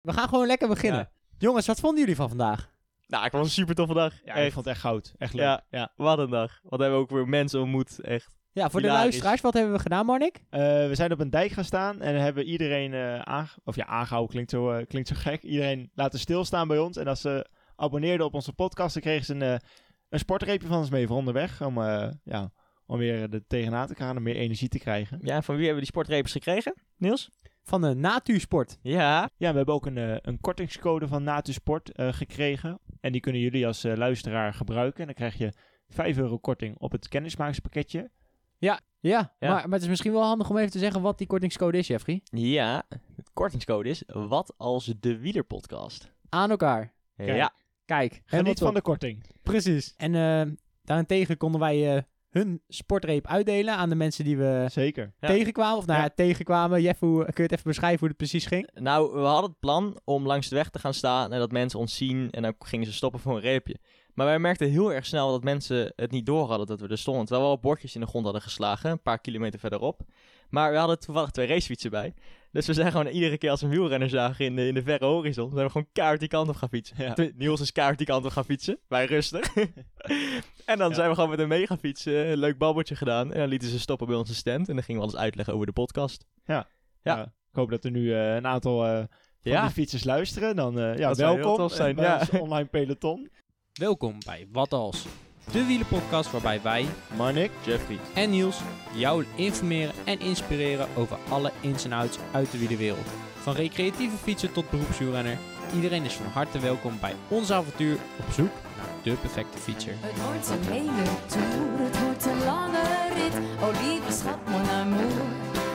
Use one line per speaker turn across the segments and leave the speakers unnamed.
We gaan gewoon lekker beginnen.
Ja.
Jongens, wat vonden jullie van vandaag?
Nou, ik was een super toffe dag.
Ja, ik
echt.
vond het echt goud. Echt leuk.
Ja.
Ja.
Wat een dag. Wat hebben we ook weer mensen ontmoet. Echt.
Ja, voor de
Hilarisch.
luisteraars, wat hebben we gedaan, Marnik?
Eh, we zijn op een dijk gaan staan en hebben iedereen eh, aange- of ja, aangehouden. Klinkt zo, eh, klinkt zo gek. Iedereen laten stilstaan bij ons. En als ze abonneerden op onze podcast, dan kregen ze een, eh, een sportreepje van ons mee voor onderweg. Om, eh, ja, om weer er tegenaan te gaan en meer energie te krijgen.
Ja, van wie hebben we die sportrepers gekregen? Niels?
Van de Natuursport.
Ja.
Ja, we hebben ook een, eh, een kortingscode van Natusport eh, gekregen. En die kunnen jullie als eh, luisteraar gebruiken. En dan krijg je 5 euro korting op het kennismakingspakketje.
Ja,
Ja.
Maar, maar het is misschien wel handig om even te zeggen wat die kortingscode is, Jeffrey.
Ja. Het kortingscode is wat als de wielerpodcast.
Aan elkaar.
Kijk.
Ja.
Kijk, helemaal
Geniet van
top.
de korting.
Precies. En eh, daarentegen konden wij eh, hun sportreep uitdelen aan de mensen die we
Zeker.
Ja.
tegenkwamen. Of nou ja,
Ja.
tegenkwamen. Jeff, hoe, kun je het even beschrijven hoe het precies ging?
Nou, we hadden het plan om langs de weg te gaan staan en dat mensen ons zien en dan gingen ze stoppen voor een reepje. Maar wij merkten heel erg snel dat mensen het niet door hadden dat we er stonden. Terwijl we al bordjes in de grond hadden geslagen, een paar kilometer verderop. Maar we hadden toevallig twee racefietsen bij. Dus we zijn gewoon iedere keer als we een wielrenner zagen in de, in de verre horizon, zijn we gewoon kaart die kant op gaan fietsen.
Ja.
Tenmin- Niels is kaart die kant op gaan fietsen, wij rustig. en dan
Ja.
zijn we gewoon met een megafiets eh, een leuk babbeltje gedaan. En dan lieten ze stoppen bij onze stand en dan gingen we alles uitleggen over de podcast. Ja.
Ja. ik hoop dat er nu eh, een aantal eh van
Ja.
die fietsers luisteren. Dan eh, ja,
Dat zou heel
welkom
tof zijn,
bij
ja.
ons online peloton.
Welkom bij Wat Als, de wielerpodcast waarbij wij
Marnik,
Jeffrey.
en Niels jou informeren en inspireren over alle ins en outs uit de wielerwereld. Van recreatieve fietsen tot beroepswielrenner, iedereen is van harte welkom bij ons avontuur op zoek naar de perfecte fietser.
Het wordt een hele toer, het wordt een lange rit. Oh lieve schat, mon amour,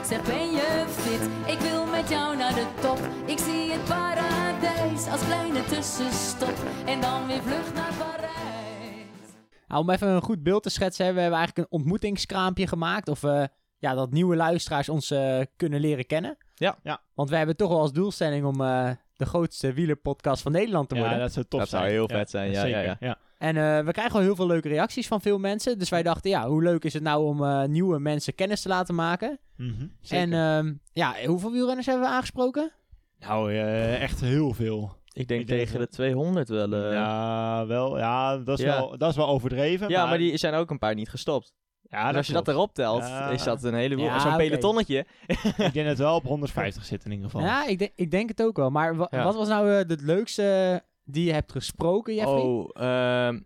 zeg ben je fit? Ik wil met jou naar de top. Ik zie het paradijs als kleine tussenstop. En dan weer vlug naar Parijs.
Nou, om even een goed beeld te schetsen, hè, we hebben eigenlijk een ontmoetingskraampje gemaakt. Of eh, ja, dat nieuwe luisteraars ons eh, kunnen leren kennen.
Ja.
Ja.
Want wij hebben toch wel als doelstelling om eh, de grootste wielerpodcast van Nederland te worden.
ja, dat zou tof
Dat
zijn.
zou heel
Ja,
vet zijn, ja,
zeker.
ja, ja.
En eh, we krijgen al heel veel leuke reacties van veel mensen. Dus wij dachten, ja, hoe leuk is het nou om eh, nieuwe mensen kennis te laten maken?
Mhm.
En ehm, ja, hoeveel wielrenners hebben we aangesproken?
nou, eh, echt heel veel.
Ik denk
Ik denk
tegen de
dat-
200 wel. eh. Ja,
ja, wel, ja, dat is,
ja.
Wel, dat is wel overdreven.
maar... die zijn ook een paar niet gestopt.
ja,
en als je dat
klopt.
erop telt,
Ja.
is dat een heleboel.
Ja,
Zo'n
oké.
pelotonnetje.
Ik denk dat het wel op 150 zit in ieder geval.
Ja, ik, denk- ik denk het ook wel. Maar wa-
Ja.
wat was nou eh, het leukste die je hebt gesproken, Jeffrey?
Oh, ehm,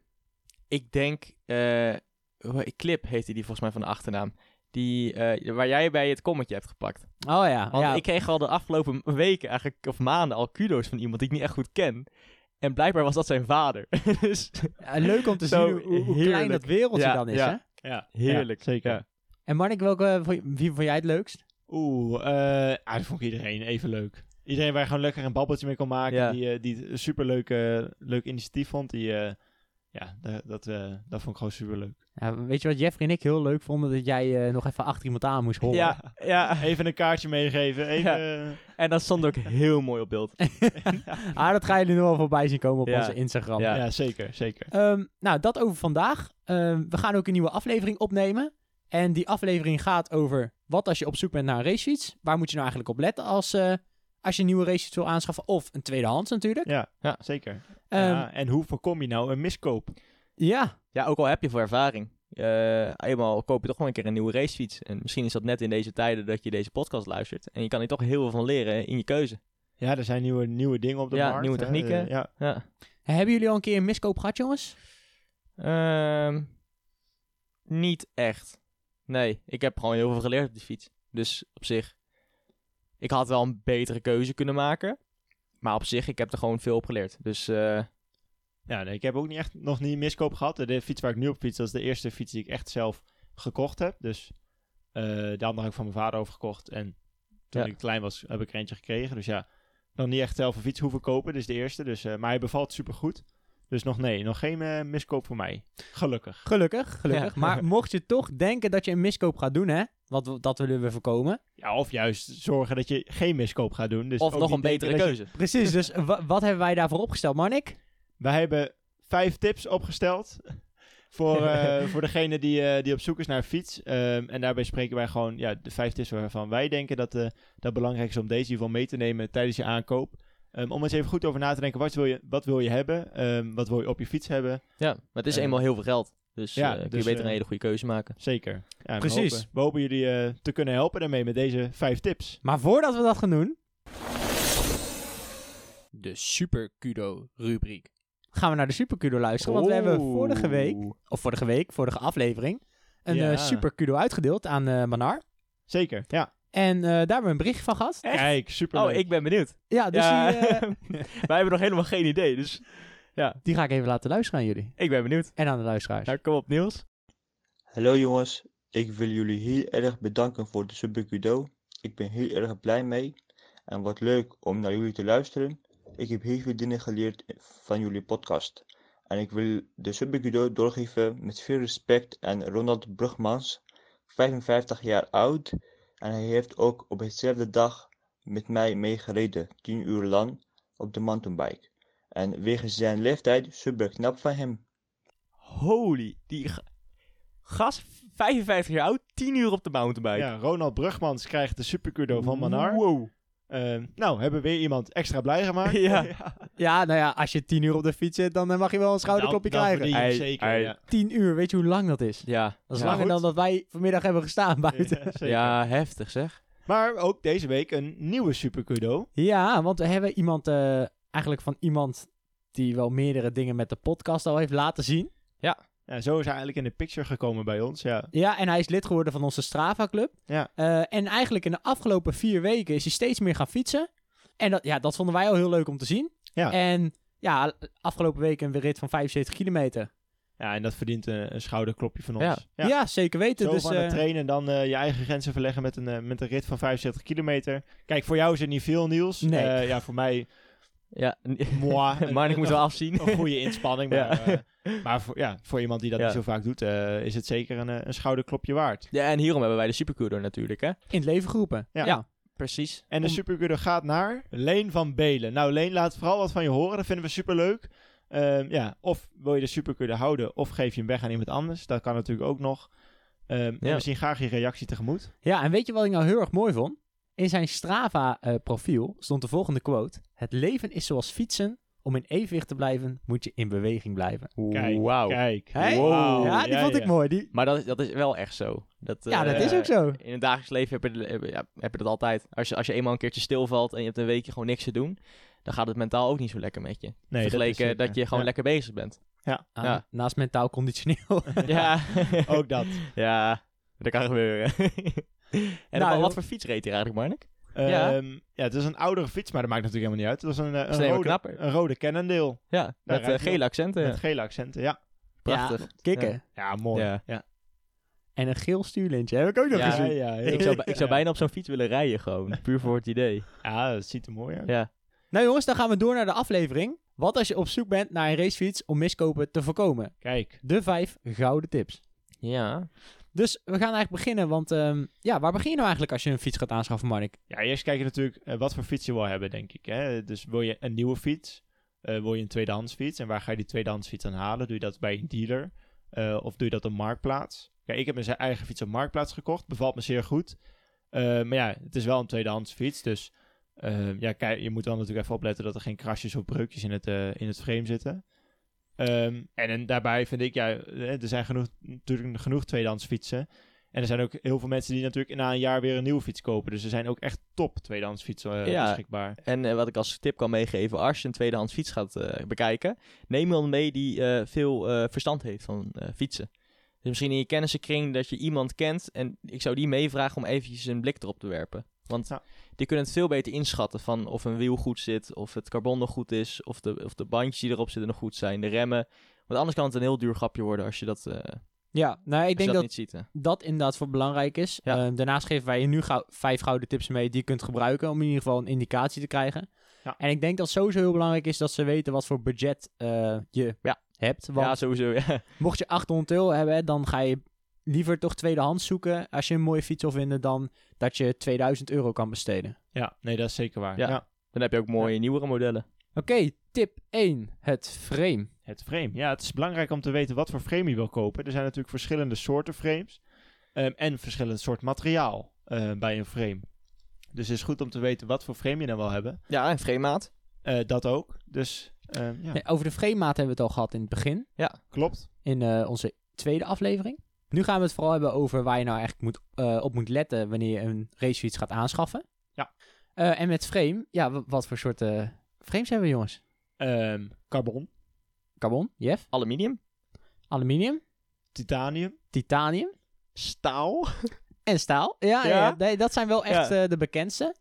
ik denk... eh, hoe- Clip heette die volgens mij van de achternaam. Die, eh, waar jij bij het kommetje hebt gepakt.
Oh ja,
Want
ja.
ik kreeg al de afgelopen weken eigenlijk, of maanden al kudo's van iemand die ik niet echt goed ken. En blijkbaar was dat zijn vader. dus
Ja, Eh, leuk om te
Zo
zien hoe, hoe klein
heerlijk.
dat wereldje
Ja,
dan is,
ja.
hè?
Ja,
heerlijk.
ja, zeker.
Ja.
En Marnik, welke, eh, vond je- wie vond jij het leukst?
Oeh, eh ah, dat vond ik iedereen even leuk. Iedereen waar je gewoon lekker een babbeltje mee kon maken.
Ja.
Die, eh, die het een superleuk eh, leuk initiatief vond. Die, eh, ja, da- dat, eh, dat vond ik gewoon superleuk.
Ja, weet je wat Jeffrey en ik heel leuk vonden? Dat jij eh, nog even achter iemand aan moest horen.
ja, ja,
Even een kaartje meegeven. Even, eh,
en dat stond ook heel mooi op beeld.
Ah, dat gaan jullie nog wel voorbij zien komen op
Ja.
onze Instagram.
Ja.
ja. zeker, zeker.
Ehm, nou, dat over vandaag. Ehm, we gaan ook een nieuwe aflevering opnemen. En die aflevering gaat over wat als je op zoek bent naar een racefiets. Waar moet je nou eigenlijk op letten als, eh, als je een nieuwe racefiets wil aanschaffen? Of een tweedehands natuurlijk.
Ja,
Ja.
zeker.
Ehm,
Ja, en hoe voorkom je nou een miskoop?
ja.
Ja, ook al heb je voor ervaring. eh, eenmaal koop je toch wel een keer een nieuwe racefiets. En misschien is dat net in deze tijden dat je deze podcast luistert. En je kan er toch heel veel van leren in je keuze.
Ja, er zijn nieuwe, nieuwe dingen op de
Ja,
markt.
nieuwe
hè.
technieken.
Eh, ja.
Ja.
Hebben jullie al een keer een miskoop gehad, jongens?
Ehm, niet echt. Nee, ik heb gewoon heel veel geleerd op die fiets. Dus op zich, ik had wel een betere keuze kunnen maken. Maar op zich, ik heb er gewoon veel op geleerd. Dus eh,
ja, nee, ik heb ook niet echt nog niet een miskoop gehad. De fiets waar ik nu op fiets, dat is de eerste fiets die ik echt zelf gekocht heb. Dus eh, de andere heb ik van mijn vader overgekocht. En toen
Ja.
ik klein was, heb ik er eentje gekregen. Dus ja, nog niet echt zelf een fiets hoeven kopen. Dus de eerste. Dus, eh, maar hij bevalt supergoed. Dus nog nee, nog geen eh, miskoop voor mij. Gelukkig.
Gelukkig, gelukkig.
Ja.
Maar mocht je toch denken dat je een miskoop gaat doen, hè? Want we- dat willen we voorkomen.
Ja, of juist zorgen dat je geen miskoop gaat doen. Dus
of
ook
nog
niet
een betere
denken dat je-
keuze.
Precies, dus wa- wat hebben wij daarvoor opgesteld, Marnik?
Wij hebben vijf tips opgesteld. Voor, eh, voor degene die, eh, die op zoek is naar een fiets. Ehm, en daarbij spreken wij gewoon ja, de vijf tips waarvan wij denken dat eh dat belangrijk is om deze in ieder geval mee te nemen tijdens je aankoop. Ehm, om eens even goed over na te denken, wat wil je, wat wil je hebben? Ehm, wat wil je op je fiets hebben?
Ja, maar het is
Eh,
eenmaal heel veel geld. Dus
ja,
eh, kun
dus,
je beter
eh,
een hele goede keuze maken.
Zeker. Ja, en we
Precies.
hopen- We hopen jullie eh, te kunnen helpen daarmee met deze vijf tips.
Maar voordat we dat gaan doen. De Super Kudo rubriek. Gaan we naar de Super Kudo luisteren. Want we hebben
Oeh.
vorige week, of vorige week, vorige aflevering. een
Ja.
eh, Super Kudo uitgedeeld aan eh Manar.
Zeker, ja.
En eh, daar hebben we een bericht van gehad.
Kijk, super.
Oh, ik ben benieuwd.
Ja, dus
ja,
Die, eh,
wij hebben nog helemaal geen idee, dus
die ga ik even laten luisteren aan jullie.
ik ben benieuwd.
En aan de luisteraars.
Nou, kom op Niels.
Hallo jongens, ik wil jullie heel erg bedanken voor de Subicudo. Ik ben heel erg blij mee en wat leuk om naar jullie te luisteren. Ik heb heel veel dingen geleerd van jullie podcast. En ik wil de Subicudo doorgeven met veel respect aan Ronald Brugmans, 55 jaar oud. En hij heeft ook op hetzelfde dag met mij meegereden, 10 uur lang, op de mountainbike. En wegens zijn leeftijd, super knap van hem.
Holy, die ga- gast, 55 jaar oud, 10 uur op de mountainbike.
Ja, Ronald Brugmans krijgt de supercudo van Manar.
Wow.
Ehm, nou, hebben we weer iemand extra blij gemaakt. Eh,
Ja.
Ja, nou ja, als je tien uur op de fiets zit, dan eh, mag je wel een schouderklopje
Nou, Dan- dan
krijgen.
verdien je hem
Ei,
zeker,
ei.
ja.
Tien uur, weet je hoe lang dat is?
Ja.
Dat is
ja.
langer
goed.
dan dat wij vanmiddag hebben gestaan buiten.
Ja, zeker.
Ja, heftig zeg.
Maar ook deze week een nieuwe supercudo.
Ja, want we hebben iemand, eh, eigenlijk van iemand die wel meerdere dingen met de podcast al heeft laten zien.
Ja, zo is hij eigenlijk in de picture gekomen bij ons. Ja,
Ja, en hij is lid geworden van onze Strava Club.
Ja.
Eh, en eigenlijk in de afgelopen vier weken is hij steeds meer gaan fietsen. En dat, ja, dat vonden wij al heel leuk om te zien.
Ja.
En ja, afgelopen week een rit van 75 kilometer.
ja en dat verdient een, een schouderklopje van ons.
Ja.
Ja, zeker weten.
Zo
dus,
van het
eh,
trainen en dan eh, je eigen grenzen verleggen met een, eh, met een rit van 75 kilometer. Kijk, voor jou is het niet veel, Niels.
Nee.
Eh, ja, voor mij,
Ja,
moi.
maar ik moet wel afzien.
een goede inspanning. Maar,
Ja.
eh, maar voor, ja, voor iemand die dat
Ja.
niet zo vaak doet, eh, is het zeker een, eh, een schouderklopje waard.
Ja, en hierom hebben wij de Supercooler natuurlijk, hè?
in het leven geroepen.
Ja.
Ja.
Precies.
En de
Om-
supercudo gaat naar Leen van Belen. Nou, Leen, laat vooral wat van je horen. Dat vinden we superleuk. Ehm, ja, of wil je de supercudo houden, of geef je hem weg aan iemand anders. Dat kan natuurlijk ook nog. Ehm, en
Ja.
We zien graag je reactie tegemoet.
Ja, en weet je wat ik nou heel erg mooi vond? In zijn Strava-profiel stond de volgende quote. Het leven is zoals fietsen. Om in evenwicht te blijven, moet je in beweging blijven.
Kijk,
Wauw.
Kijk.
Hè?
Wauw.
ja, die vond ik
ja.
mooi. Die...
Maar dat, is- dat is wel echt zo. Dat,
Ja, dat
eh,
is ook zo.
In het dagelijks leven heb je, de- heb, je- ja, heb je dat altijd. Als je, als je eenmaal een keertje stilvalt en je hebt een weekje gewoon niks te doen, dan gaat het mentaal ook niet zo lekker met je.
Nee, dat is
Vergeleken dat,
zeker.
je gewoon
Ja.
lekker bezig bent.
Ah,
Ja.
Naast mentaal conditioneel.
Ja.
Ook dat.
ja, dat kan gebeuren. en
Nou,
op-
joh.
wat voor fiets reed hij eigenlijk, Marnik?
ja. Ehm, ja, het is een oudere fiets, maar dat maakt natuurlijk helemaal niet uit. Het was een, eh,
is
een,
alleen maar
rode,
knapper.
een rode Cannondale
Ja, met eh,
rijdt hij
gele accenten.
met gele accenten. Ja,
Prachtig.
Kikken.
ja mooi.
Ja.
ja.
En een geel stuurlintje heb ik ook nog
Ja,
gezien.
ja, heel
Ik zou,
goed.
ik zou bijna op zo'n fiets willen rijden gewoon. Puur voor het idee.
Ja, dat ziet er mooi uit.
Ja.
Nou jongens, dan gaan we door naar de aflevering. Wat als je op zoek bent naar een racefiets om miskopen te voorkomen?
Kijk.
De vijf gouden tips.
Ja.
Dus we gaan eigenlijk beginnen, want ehm, ja, waar begin je nou eigenlijk als je een fiets gaat aanschaffen, Marnik?
Ja, eerst kijken natuurlijk eh, wat voor fiets je wil hebben, denk ik. Hè? Dus wil je een nieuwe fiets? Eh, wil je een tweedehands fiets? En waar ga je die tweedehands fiets aan halen? Doe je dat bij een dealer? Eh, of doe je dat op Marktplaats? Kijk, ik heb mijn eigen fiets op Marktplaats gekocht. Bevalt me zeer goed. Eh, maar ja, het is wel een tweedehands fiets. Dus eh, ja, kijk, je moet wel natuurlijk even opletten dat er geen krasjes of breukjes in het, eh, in het frame zitten. Ehm, en, en daarbij vind ik, ja, eh, er zijn genoeg, natuurlijk genoeg tweedehands fietsen. En er zijn ook heel veel mensen die natuurlijk na een jaar weer een nieuwe fiets kopen. Dus er zijn ook echt top tweedehands fietsen eh,
Ja.
beschikbaar.
En eh, wat ik als tip kan meegeven, als je een tweedehands fiets gaat eh, bekijken, neem iemand mee die eh, veel eh, verstand heeft van eh, fietsen. Dus misschien in je kennissenkring dat je iemand kent en ik zou die meevragen om eventjes een blik erop te werpen. Want
Ja.
die kunnen het veel beter inschatten van of een wiel goed zit, of het carbon nog goed is, of de, of de bandjes die erop zitten nog goed zijn, de remmen. Want anders kan het een heel duur grapje worden als je dat, eh, als
Ja, nou ik
je
denk
dat,
dat
niet ziet. hè.
dat inderdaad voor belangrijk is.
Ja.
Ehm, daarnaast geven wij je nu gauw- vijf gouden tips mee die je kunt gebruiken om in ieder geval een indicatie te krijgen.
Ja.
En ik denk dat het sowieso heel belangrijk is dat ze weten wat voor budget eh, je
Ja.
hebt. Want
Ja, sowieso. Ja.
mocht je 800 euro hebben, dan ga je liever toch tweedehands zoeken als je een mooie fiets wil vinden dan dat je 2000 euro kan besteden.
Ja, nee, dat is zeker waar.
Ja.
Ja.
Dan heb je ook mooie nieuwere modellen.
Oké, tip 1, het frame.
Het frame. Ja, het is belangrijk om te weten wat voor frame je wil kopen. Er zijn natuurlijk verschillende soorten frames. ehm, en verschillend soort ehm, materiaal eh, bij een frame. Dus het is goed om te weten wat voor frame je dan wil hebben.
Ja, en vreemaat.
Eh, dat ook. Dus ehm, ja,
Nee, over de frame maat hebben we het al gehad in het begin.
klopt.
In eh, onze tweede aflevering. Nu gaan we het vooral hebben over waar je nou eigenlijk moet, eh, op moet letten wanneer je een racefiets gaat aanschaffen.
Ja.
Eh, en met frame, ja, w- wat voor soort eh, frames hebben we jongens?
Ehm, carbon,
Carbon, Jeff,
Aluminium?
aluminium,
titanium.
titanium
Staal?
en staal. Ja, ja.
Ja?
ja, nee, dat zijn wel echt eh, de bekendste.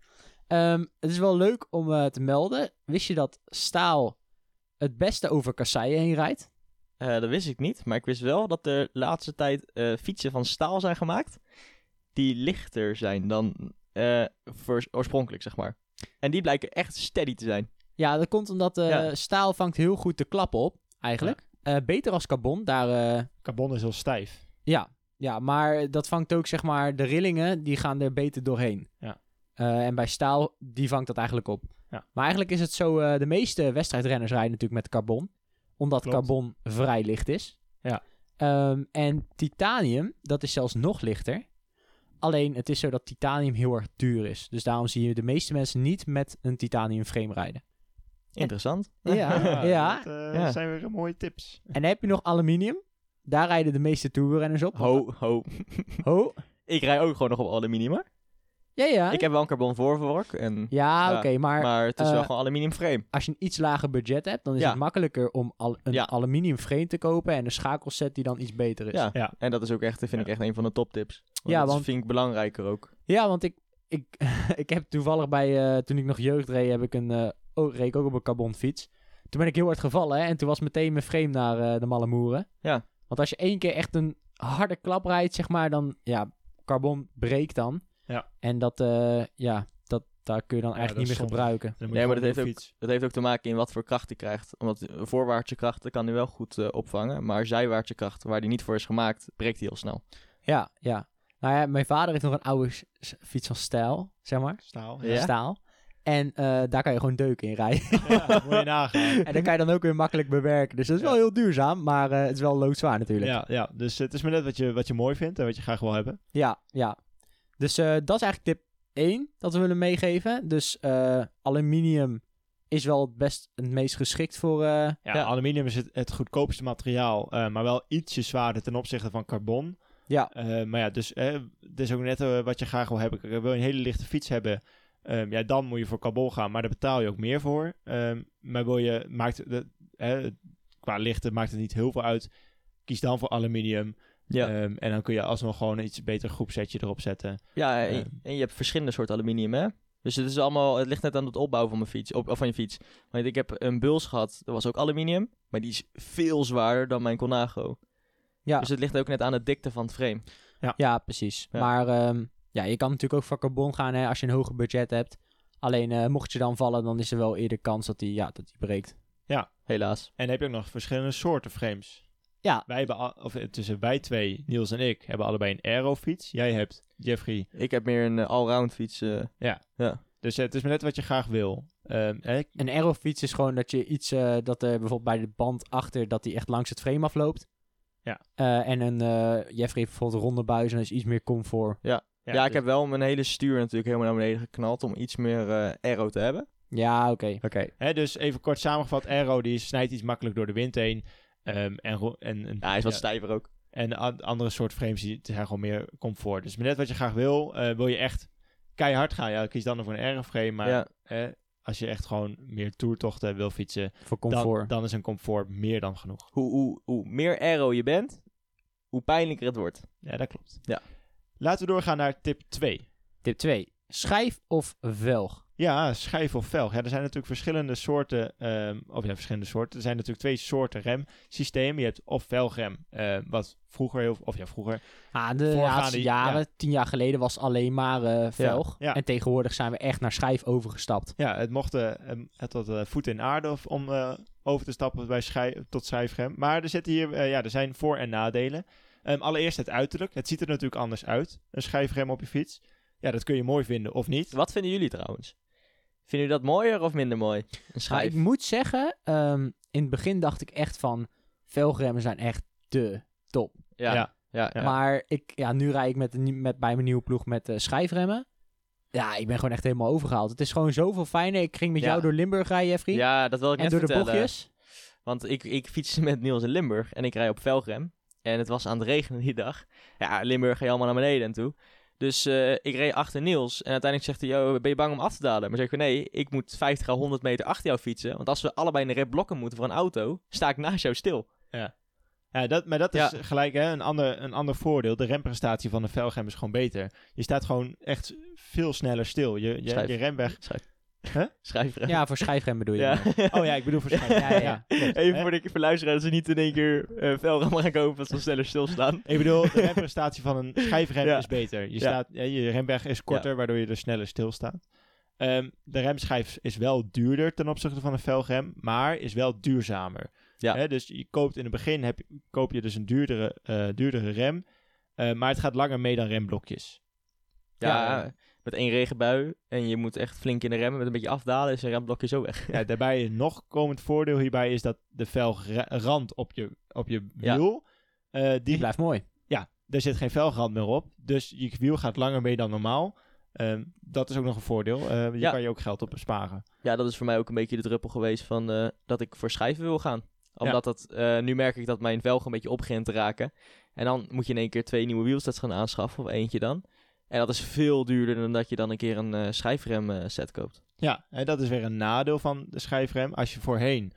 Ehm, het is wel leuk om eh, te melden. Wist je dat staal het beste over kasseien heen rijdt?
Eh, dat wist ik niet, maar ik wist wel dat de laatste tijd eh, fietsen van staal zijn gemaakt die lichter zijn dan eh, voor- oorspronkelijk, zeg maar. En die blijken echt steady te zijn.
Ja, dat komt omdat eh,
Ja.
staal vangt heel goed de klappen op, eigenlijk. Eh, beter als carbon, daar... eh,
Carbon is heel stijf.
ja. ja, maar dat vangt ook, zeg maar, de rillingen, die gaan er beter doorheen.
Ja.
Eh, en bij staal, die vangt dat eigenlijk op.
Ja.
Maar eigenlijk is het zo, eh, de meeste wedstrijdrenners rijden natuurlijk met carbon. Omdat
Klopt.
carbon vrij licht is.
Ja.
Ehm, en titanium, dat is zelfs nog lichter. Alleen, het is zo dat titanium heel erg duur is. Dus daarom zie je de meeste mensen niet met een titanium frame rijden.
Interessant.
Ja, ja.
Dat eh,
Ja.
zijn weer mooie tips.
En dan heb je nog aluminium. Daar rijden de meeste tourrenners op.
Ho, ho.
Ho.
Ik rij ook gewoon nog op aluminium, hoor.
Ja, ja.
Ik heb wel een carbon voorvork, en,
Ja,
Ja,
oké, maar,
maar het is wel
eh,
gewoon aluminium frame.
als je een iets lager budget hebt, dan is
Ja.
het makkelijker om al een
Ja.
aluminium frame te kopen en een schakelset die dan iets beter is.
Ja.
Ja.
En dat is ook echt, vind ik echt een van de toptips. Want
Ja,
dat
want-
vind ik belangrijker ook.
Ja, want ik, ik, ik heb toevallig bij, eh, toen ik nog jeugd reed, heb ik een, eh oh, reed ik ook op een carbon fiets. Toen ben ik heel hard gevallen hè, en toen was meteen mijn frame naar eh, de malle moeren.
Ja.
Want als je één keer echt een harde klap rijdt, zeg maar, dan, ja, carbon breekt dan.
Ja.
En dat, eh, ja, dat, daar kun je dan
Ja,
eigenlijk
dat
niet
is
meer
zonde.
gebruiken.
Dan moet
Nee,
je
maar
gewoon
dat heeft,
op
ook,
fiets.
dat heeft ook te maken in wat voor kracht hij krijgt. Omdat voorwaartse krachten kan hij wel goed eh, opvangen. Maar zijwaartse kracht, waar die niet voor is gemaakt, breekt hij heel snel.
Ja, ja. Nou ja, mijn vader heeft nog een oude s- s- fiets van stijl, zeg maar.
Staal.
Ja.
Staal. En eh, daar kan je gewoon deuken in rijden.
Ja, dat moet je nagaan.
en dan kan je dan ook weer makkelijk bewerken. Dus dat is wel heel duurzaam, maar eh, het is wel loodzwaar natuurlijk. Ja,
Ja, ja, dus het is maar net wat je, wat je mooi vindt en wat je graag wil hebben.
ja. Dus eh, dat is eigenlijk tip 1 dat we willen meegeven. Dus eh, aluminium is wel het, best, het meest geschikt voor... eh,
Ja,
Ja.
aluminium is het, het goedkoopste materiaal, eh, maar wel ietsje zwaarder ten opzichte van carbon.
Ja.
Eh, maar ja, dus eh, het is ook net eh, wat je graag wil hebben. Kijk, wil je een hele lichte fiets hebben, ehm, ja, dan moet je voor carbon gaan, maar daar betaal je ook meer voor. Ehm, maar wil je, maakt, de, eh, qua lichte maakt het niet heel veel uit. Kies dan voor aluminium.
Ja.
Ehm, en dan kun je alsnog gewoon een iets beter groepsetje erop zetten.
Ja,
Ja.
en, en je hebt verschillende soorten aluminium, hè? Dus het, is allemaal, het ligt net aan het opbouwen van, mijn fiets, op, of van je fiets. Want ik heb een Buls gehad, dat was ook aluminium. Maar die is veel zwaarder dan mijn Conago.
Ja.
Dus het ligt ook net aan de dikte van het frame.
ja, precies.
Ja.
Maar ehm, ja, je kan natuurlijk ook voor carbon gaan hè, als je een hoger budget hebt. Alleen eh, mocht je dan vallen, dan is er wel eerder kans dat die, ja, dat die breekt.
Helaas.
En dan heb je ook nog verschillende soorten frames.
Ja.
Wij hebben, al- of eh, tussen wij twee, Niels en ik, hebben allebei een aerofiets. Jij hebt, Jeffrey.
Ik heb meer een eh, allround fiets. eh,
Dus eh, het is maar net wat je graag wil. Ehm, en ik-
Een aerofiets is gewoon dat je iets, eh, dat er bijvoorbeeld bij de band achter, dat die echt langs het frame afloopt.
Ja.
Eh, en een eh Jeffrey heeft bijvoorbeeld ronde buizen, dat is iets meer comfort.
ja,
dus,
ik heb wel mijn hele stuur natuurlijk helemaal naar beneden geknald om iets meer eh aero te hebben.
Ja, oké.
Oké. Hè, dus even kort samengevat, aero die snijdt iets makkelijk door de wind heen. Ehm, en, ro- en, en,
Ja, hij is wat
ja,
stijver ook.
en de an- andere soort frames die die zijn gewoon meer comfort. Dus maar net wat je graag wil. Eh, wil je echt keihard gaan, ja, kies dan voor een aeroframe. Maar
ja.
eh, als je echt gewoon meer toertochten wil fietsen,
Voor
dan,
comfort.
dan is een comfort meer dan genoeg.
hoe, hoe, hoe meer aero je bent, hoe pijnlijker het wordt.
Ja, dat klopt.
Ja.
Laten we doorgaan naar tip 2.
Tip 2. Schijf of velg?
Ja, schijf of velg. Ja, er zijn natuurlijk verschillende soorten, ehm, of ja, verschillende soorten. Er zijn natuurlijk twee soorten remsystemen. Je hebt of velgrem, eh, wat vroeger heel, of ja, vroeger.
Ah, de
Voorgaande-
laatste jaren, tien jaar geleden was alleen maar eh, velg.
ja.
En tegenwoordig zijn we echt naar schijf overgestapt.
Ja, het mocht eh, ehm, het had eh, voeten in aarde of, om eh, over te stappen bij schij, tot schijfrem. Maar er zitten hier, eh, ja, er zijn voor- en nadelen. Ehm, allereerst het uiterlijk. Het ziet er natuurlijk anders uit, een schijfrem op je fiets. Ja, dat kun je mooi vinden of niet.
Wat vinden jullie trouwens? Vinden jullie dat mooier of minder mooi? Een
Maar
schijf.
ik moet zeggen, ehm, in het begin dacht ik echt van, velgremmen zijn echt de top.
ja.
ja.
Ja, ja.
Maar ik, ja, nu rijd ik met, een nie- met, bij mijn nieuwe ploeg met eh, schijfremmen. Ja, ik ben gewoon echt helemaal overgehaald. Het is gewoon zoveel fijner. Ik ging met
Ja.
jou door Limburg rijden, Jeffrey.
Ja, dat wil ik
en
net
door de
vertellen.
bochtjes.
Want ik, ik fiets met Niels in Limburg en ik rij op velgrem. En het was aan het regenen die dag. Ja, Limburg ga je allemaal naar beneden en toe. Dus eh, ik reed achter Niels en uiteindelijk zegt hij, Yo, ben je bang om af te dalen? Maar zeg ik, nee, ik moet 50 à 100 meter achter jou fietsen. Want als we allebei in de rij blokken moeten voor een auto, sta ik naast jou stil.
Ja, dat, maar dat is
Ja.
gelijk hè, een, ander, een ander voordeel. De remprestatie van de velgem is gewoon beter. Je staat gewoon echt veel sneller stil. Je, je,
Schijf.
je remweg.
Schrijfrem.
Ja, voor schijfrem bedoel je.
Ja.
dan.
Oh ja, ik bedoel waarschijnlijk.
Ja, ja, ja.
klopt.
Even
Hè?
voor de voor luisteraars dat ze niet in één keer eh velgrem gaan kopen, dat ze sneller stilstaan.
Ik bedoel, de remprestatie van een schijfrem
Ja.
is beter. Je,
Ja.
staat, ja, je remweg is korter, waardoor je er sneller stilstaat. Ehm de remschijf is wel duurder ten opzichte van een velgrem, maar is wel duurzamer.
Ja.
Hè, dus je koopt in het begin heb, je- koop je dus een duurdere, eh, duurdere rem, eh, maar het gaat langer mee dan remblokjes.
Ja,
Ja.
met één regenbui en je moet echt flink in de remmen met een beetje afdalen, is een remblokje zo weg.
Ja, daarbij een nog komend voordeel hierbij is dat de velgrand op je, op je
Ja.
wiel, eh,
Die
die,
blijft mooi.
daar zit geen velgrand meer op. Dus je wiel gaat langer mee dan normaal. Ehm, dat is ook nog een voordeel. Eh, je
Ja.
kan je ook geld op besparen.
Ja, dat is voor mij ook een beetje de druppel geweest van eh, dat ik voor schrijven wil gaan. Omdat dat, eh, nu merk ik dat mijn velgen een beetje op begint te raken. En dan moet je in één keer twee nieuwe wielsets gaan aanschaffen, of eentje dan. En dat is veel duurder dan dat je dan een keer een eh schijfrem eh, set koopt.
Ja, en dat is weer een nadeel van de schijfrem. Als je voorheen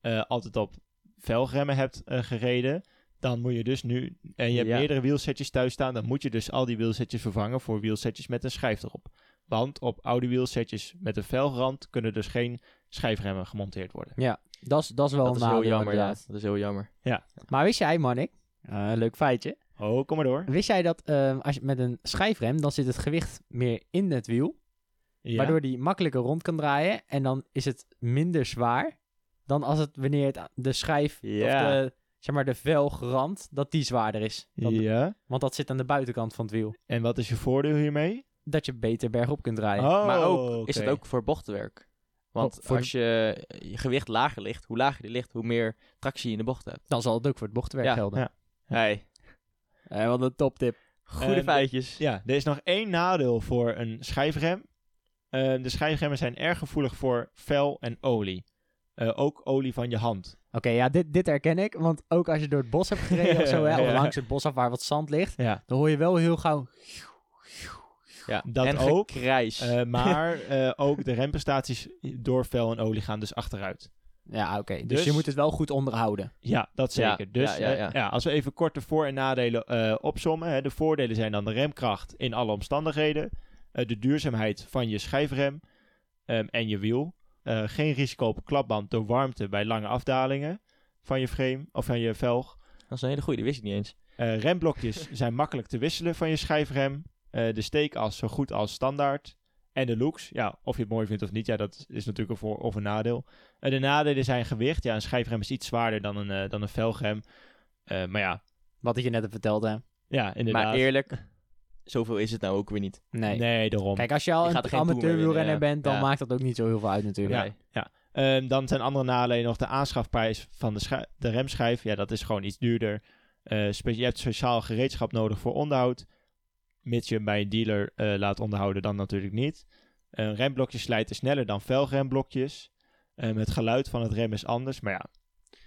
eh, altijd op velgremmen hebt eh, gereden, dan moet je dus nu... En je hebt
Ja.
meerdere wielsetjes thuis staan, dan moet je dus al die wielsetjes vervangen voor wielsetjes met een schijf erop. Want op oude wielsetjes met een velgrand kunnen dus geen schijfremmen gemonteerd worden.
Dat is, dat is wel
dat
een
is heel
nadeel,
jammer, ja.
inderdaad.
Dat is heel jammer.
Maar wist jij, Marnik, eh, leuk feitje.
Oh, kom maar door.
Wist jij dat eh, als je met een schijfrem, dan zit het gewicht meer in het wiel.
Ja.
Waardoor die makkelijker rond kan draaien. En dan is het minder zwaar dan als het wanneer het, a- de schijf
Ja.
of de, zeg maar de velgrand, dat die zwaarder is. Dan-
ja.
Want dat zit aan de buitenkant van het wiel.
En wat is je voordeel hiermee?
Dat je beter bergop kunt draaien.
Oh,
maar ook,
oké.
is het ook voor bochtenwerk? Want
Oh, voor
als je eh, je gewicht lager ligt, hoe lager die ligt, hoe meer tractie je in de bocht hebt.
Dan zal het ook voor het bochtwerk
Ja.
gelden.
Ja.
Hey,
Eh, wat een toptip.
goede
En-
feitjes.
Ja, er is nog één nadeel voor een schijfrem. Eh, de schijfremmen zijn erg gevoelig voor vel en olie. Eh, ook olie van je hand.
Oké, ja, dit, dit herken ik. Want ook als je door het bos hebt gereden of zo, hè, of
Ja.
langs het bos af waar wat zand ligt,
Ja.
dan hoor je wel heel gauw...
Ja,
dat
en
ook.
gekrijs.
maar eh, ook de remprestaties door vel en olie gaan dus achteruit.
Ja, oké. Dus,
Dus-
je moet het wel goed onderhouden.
Ja, dat
Ja,
zeker. dus
ja, ja,
eh,
ja.
als we even kort de voor- en nadelen eh, opsommen. Hè, de voordelen zijn dan de remkracht in alle omstandigheden. eh, de duurzaamheid van je schijfrem ehm, en je wiel. eh, geen risico op klapband door warmte bij lange afdalingen van je frame of van je velg.
dat is een hele goede, die wist ik niet eens.
Eh, remblokjes zijn makkelijk te wisselen van je schijfrem. Eh, de steekas zo goed als standaard. En de looks, ja, of je het mooi vindt of niet, ja, dat is natuurlijk een voor- of een nadeel. Eh, de nadelen zijn gewicht. Ja, een schijfrem is iets zwaarder dan een, eh, dan een velgrem. Eh, maar ja,
Wat ik je net heb verteld, hè.
ja, inderdaad.
Maar eerlijk, zoveel is het nou ook weer niet.
Nee.
Nee, daarom.
Kijk, als je al
Je gaat er
een
geen toer meer
amateurwielrenner
winnen, ja.
bent, dan
Ja.
maakt dat ook niet zo heel veel uit natuurlijk.
Ja. Ehm, dan zijn andere nadelen nog de aanschafprijs van de, schi- de remschijf. Ja, dat is gewoon iets duurder. Eh, spe- je hebt speciaal gereedschap nodig voor onderhoud. Mits je hem bij een dealer eh, laat onderhouden, dan natuurlijk niet. Eh, remblokjes slijten sneller dan velgremblokjes. Ehm, het geluid van het rem is anders. Maar ja,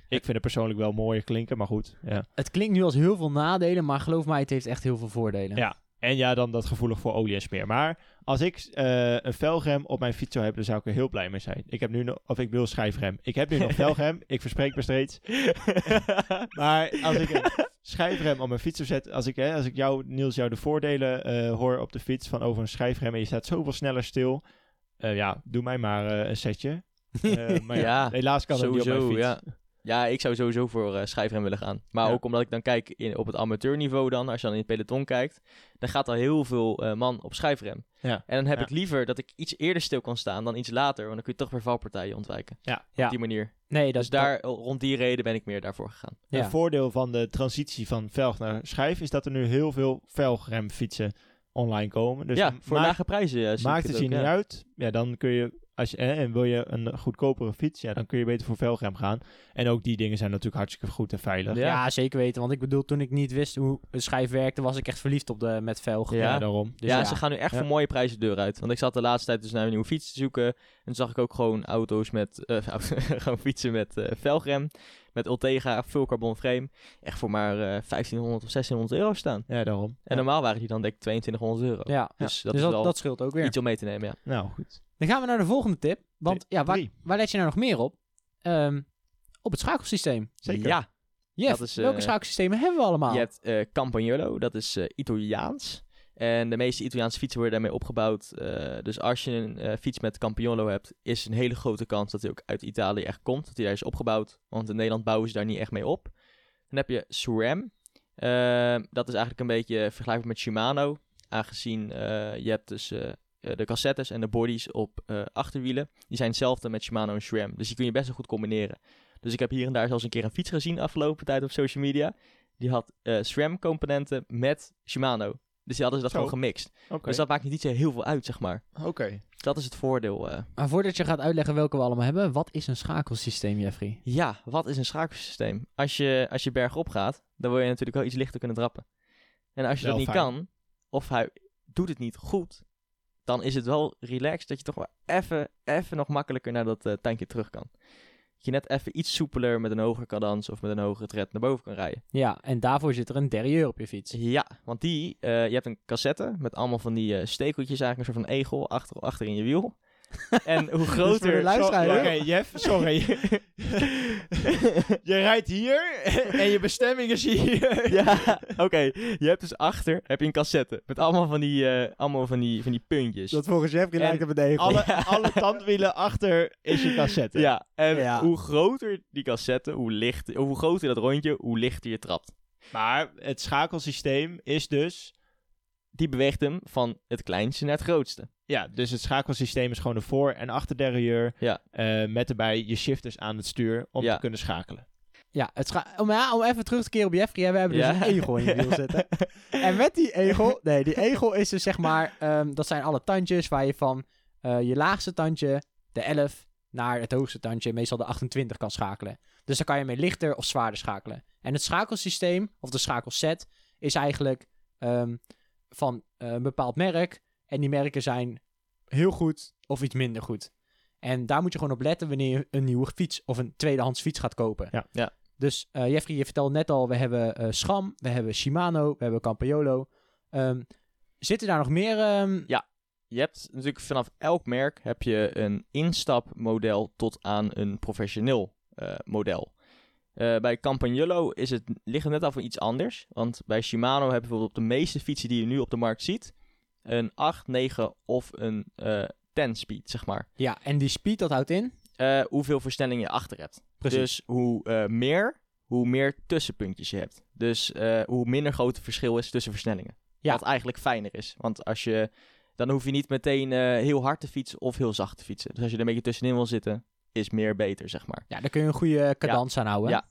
ik vind het persoonlijk wel mooier klinken, maar goed. Ja.
Het klinkt nu als heel veel nadelen, maar geloof mij, het heeft echt heel veel voordelen.
Ja. En ja, dan dat gevoelig voor olie en smeer. Maar als ik eh, een velgrem op mijn fiets zou hebben, dan zou ik er heel blij mee zijn. Ik heb nu nog, of ik wil schijfrem. Ik heb nu nog velgrem. Ik verspreek me steeds. Maar als ik een schijfrem op mijn fiets zou zetten, als ik, hè, als ik jou, Niels, jou de voordelen eh, hoor op de fiets van over een schijfrem en je staat zoveel sneller stil, eh, ja, doe mij maar eh, een setje. Eh, maar ja,
Ja,
helaas kan dat niet op mijn
sowieso,
fiets.
ja. Ja, ik zou sowieso voor eh schijfrem willen gaan. Maar
Ja.
ook omdat ik dan kijk in, op het amateurniveau dan, als je dan in het peloton kijkt, dan gaat al heel veel eh, man op schijfrem.
Ja.
En dan heb
Ja.
ik liever dat ik iets eerder stil kan staan dan iets later, want dan kun je toch weer valpartijen ontwijken.
Ja.
Ja.
Op die manier.
Nee, dat
Dus
is
daar, rond die reden ben ik meer daarvoor gegaan.
Ja.
Een voordeel van de transitie van velg naar schijf is dat er nu heel veel velgremfietsen online komen. Dus
ja, voor
maak,
lage prijzen. eh, zie ik
maakt het
ook,
je niet
ja.
uit, ja, dan kun je Als je, eh, en wil je een goedkopere fiets, ja, dan kun je beter voor velgrem gaan. En ook die dingen zijn natuurlijk hartstikke goed en veilig.
Ja. zeker weten. Want ik bedoel, toen ik niet wist hoe een schijf werkte, was ik echt verliefd op de met velg.
Ja.
Ja, daarom.
Dus
ja,
ja,
ze gaan nu echt
Ja.
voor mooie prijzen de deur uit. Want ik zat de laatste tijd dus naar een nieuwe fiets te zoeken. En toen zag ik ook gewoon auto's met... eh, gewoon fietsen met eh, velgrem. Met Ultega, full carbon frame. Echt voor maar eh, 1500 of 1600 euro staan.
Ja, daarom.
En normaal waren die dan denk ik 2200 euro.
Ja,
Dus dat
dus
is
dat,
wel
dat scheelt ook weer.
Iets om mee te nemen, ja.
Nou, goed.
Dan gaan we naar de volgende tip. Want ja, waar,
Drie.
waar let je nou nog meer op? Ehm, op het schakelsysteem.
Zeker.
Ja,
Jeff,
Dat is,
welke
eh,
schakelsystemen hebben we allemaal?
Je hebt eh, Campagnolo, dat is eh, Italiaans. En de meeste Italiaanse fietsen worden daarmee opgebouwd. Eh, dus als je een eh, fiets met Campagnolo hebt, is een hele grote kans dat hij ook uit Italië echt komt. Dat hij daar is opgebouwd, want in Nederland bouwen ze daar niet echt mee op. Dan heb je SRAM. Eh, dat is eigenlijk een beetje vergelijkbaar met Shimano. Aangezien eh, je hebt dus eh, eh, de cassettes en de bodies op eh, achterwielen. Die zijn hetzelfde met Shimano en SRAM. Dus die kun je best wel goed combineren. Dus ik heb hier en daar zelfs een keer een fiets gezien afgelopen tijd op social media. Die had eh SRAM-componenten met Shimano. Dus die hadden ze dat
Zo.
gewoon gemixt.
Oké.
Dus dat maakt niet zo heel veel uit, zeg maar.
Oké.
Dat is het voordeel. eh.
Maar voordat je gaat uitleggen welke we allemaal hebben, wat is een schakelsysteem, Jeffrey?
Ja, wat is een schakelsysteem? Als je, als je bergop gaat, dan wil je natuurlijk wel iets lichter kunnen trappen. En als je
Wel
dat niet
fijn.
kan, of hij doet het niet goed, dan is het wel relaxed dat je toch wel even, even nog makkelijker naar dat eh tuintje terug kan. Dat je net even iets soepeler met een hoger cadans of met een hogere tred naar boven kan rijden.
Ja, en daarvoor zit er een derrière op je fiets.
Ja, want die, eh, je hebt een cassette met allemaal van die eh, stekeltjes, eigenlijk een soort van egel achter, achter in je wiel. en hoe
voor de
groter...
luisteraar,
Zo-
hè?
Oké, Jeff, sorry. je rijdt hier en je bestemming is hier.
ja, oké. Je hebt dus achter heb je een cassette met allemaal van die, eh, allemaal van die, van die puntjes.
volgens Jeffrey
lijkt
op een egel.
Alle, alle tandwielen achter is je cassette.
ja, en
Ja.
hoe groter die cassette, hoe, licht, hoe groter dat rondje, hoe lichter je trapt.
Maar het schakelsysteem is dus...
Die beweegt hem van het kleinste naar het grootste.
Ja, dus het schakelsysteem is gewoon de voor- en achterderrieur.
Ja.
eh, met daarbij je shifters aan het stuur om
Ja.
te kunnen schakelen.
Ja, het scha- om, ja, om even terug te keren op Jeffrey, hè, we hebben dus
Ja.
een egel in je wiel zitten. en met die egel, nee, die egel is dus zeg maar, ehm, dat zijn alle tandjes waar je van eh, je laagste tandje, de 11, naar het hoogste tandje, meestal de 28 kan schakelen. Dus daar kan je mee lichter of zwaarder schakelen. En het schakelsysteem, of de schakelset, is eigenlijk ehm, van eh, een bepaald merk. En die merken zijn heel goed of iets minder goed. En daar moet je gewoon op letten wanneer je een nieuwe fiets of een tweedehands fiets gaat kopen.
Ja.
Ja.
Dus eh, Jeffrey, je vertelde net al, we hebben eh, Scham, we hebben Shimano, we hebben Campagnolo. Ehm, zitten daar nog meer? ehm,
Je hebt natuurlijk vanaf elk merk heb je een instapmodel tot aan een professioneel eh, model. Eh, bij Campagnolo is het, ligt het net af van iets anders. Want bij Shimano heb je bijvoorbeeld op de meeste fietsen die je nu op de markt ziet... een 8, 9 of een eh 10 speed, zeg maar.
Ja, en die speed, dat houdt in?
Eh, hoeveel versnelling je achter hebt.
Precies.
Dus hoe eh, meer, hoe meer tussenpuntjes je hebt. Dus eh, hoe minder groot het verschil is tussen versnellingen.
Ja.
Wat eigenlijk fijner is. Want als je, dan hoef je niet meteen eh, heel hard te fietsen of heel zacht te fietsen. Dus als je er een beetje tussenin wil zitten, is meer beter, zeg maar.
Ja, daar kun je een goede eh, cadans aan houden.
Ja.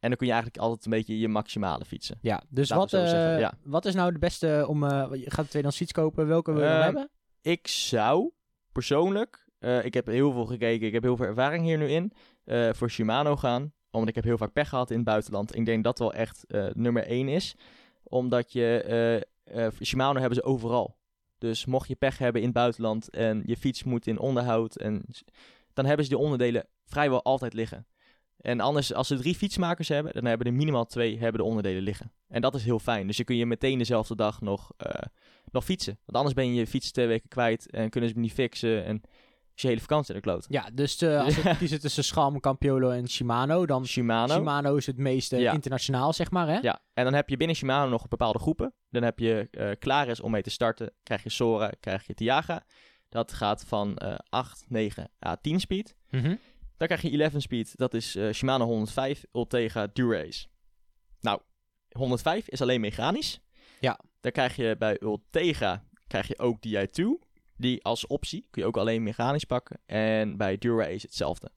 En dan kun je eigenlijk altijd een beetje je maximale fietsen.
Ja, dus
Laten
wat,
we zo
eh,
zeggen, ja.
wat is nou de beste om... eh, je gaat een tweedehands fiets kopen, welke wil je dan
Ehm,
hebben?
Ik zou persoonlijk, eh, ik heb heel veel gekeken, ik heb heel veel ervaring hier nu in, eh, voor Shimano gaan. Omdat ik heb heel vaak pech gehad in het buitenland. Ik denk dat wel echt eh, nummer één is. Omdat je, eh, eh, Shimano hebben ze overal. Dus mocht je pech hebben in het buitenland en je fiets moet in onderhoud, en, dan hebben ze die onderdelen vrijwel altijd liggen. En anders, als ze drie fietsmakers hebben, dan hebben er minimaal twee hebben de onderdelen liggen. En dat is heel fijn. Dus je kun je meteen dezelfde dag nog eh, nog fietsen. Want anders ben je je fiets twee weken kwijt en kunnen ze hem niet fixen en is je hele vakantie in de kloot.
Ja, dus eh, als we
Ja.
kiezen tussen Scham, Campiolo en Shimano, dan
Shimano.
Shimano is het meeste
Ja.
internationaal, zeg maar, hè?
Ja, en dan heb je binnen Shimano nog bepaalde groepen. Dan heb je eh klaar is om mee te starten, krijg je Sora, krijg je Tiaga. Dat gaat van eh 8, 9 à 10 speed.
Mhm.
Dan krijg je 11 speed, dat is eh, Shimano 105 Ultega Durace. Nou, 105 is alleen mechanisch.
Ja.
Dan krijg je bij Ultega krijg je ook Di2. Die als optie kun je ook alleen mechanisch pakken. En bij Durace hetzelfde.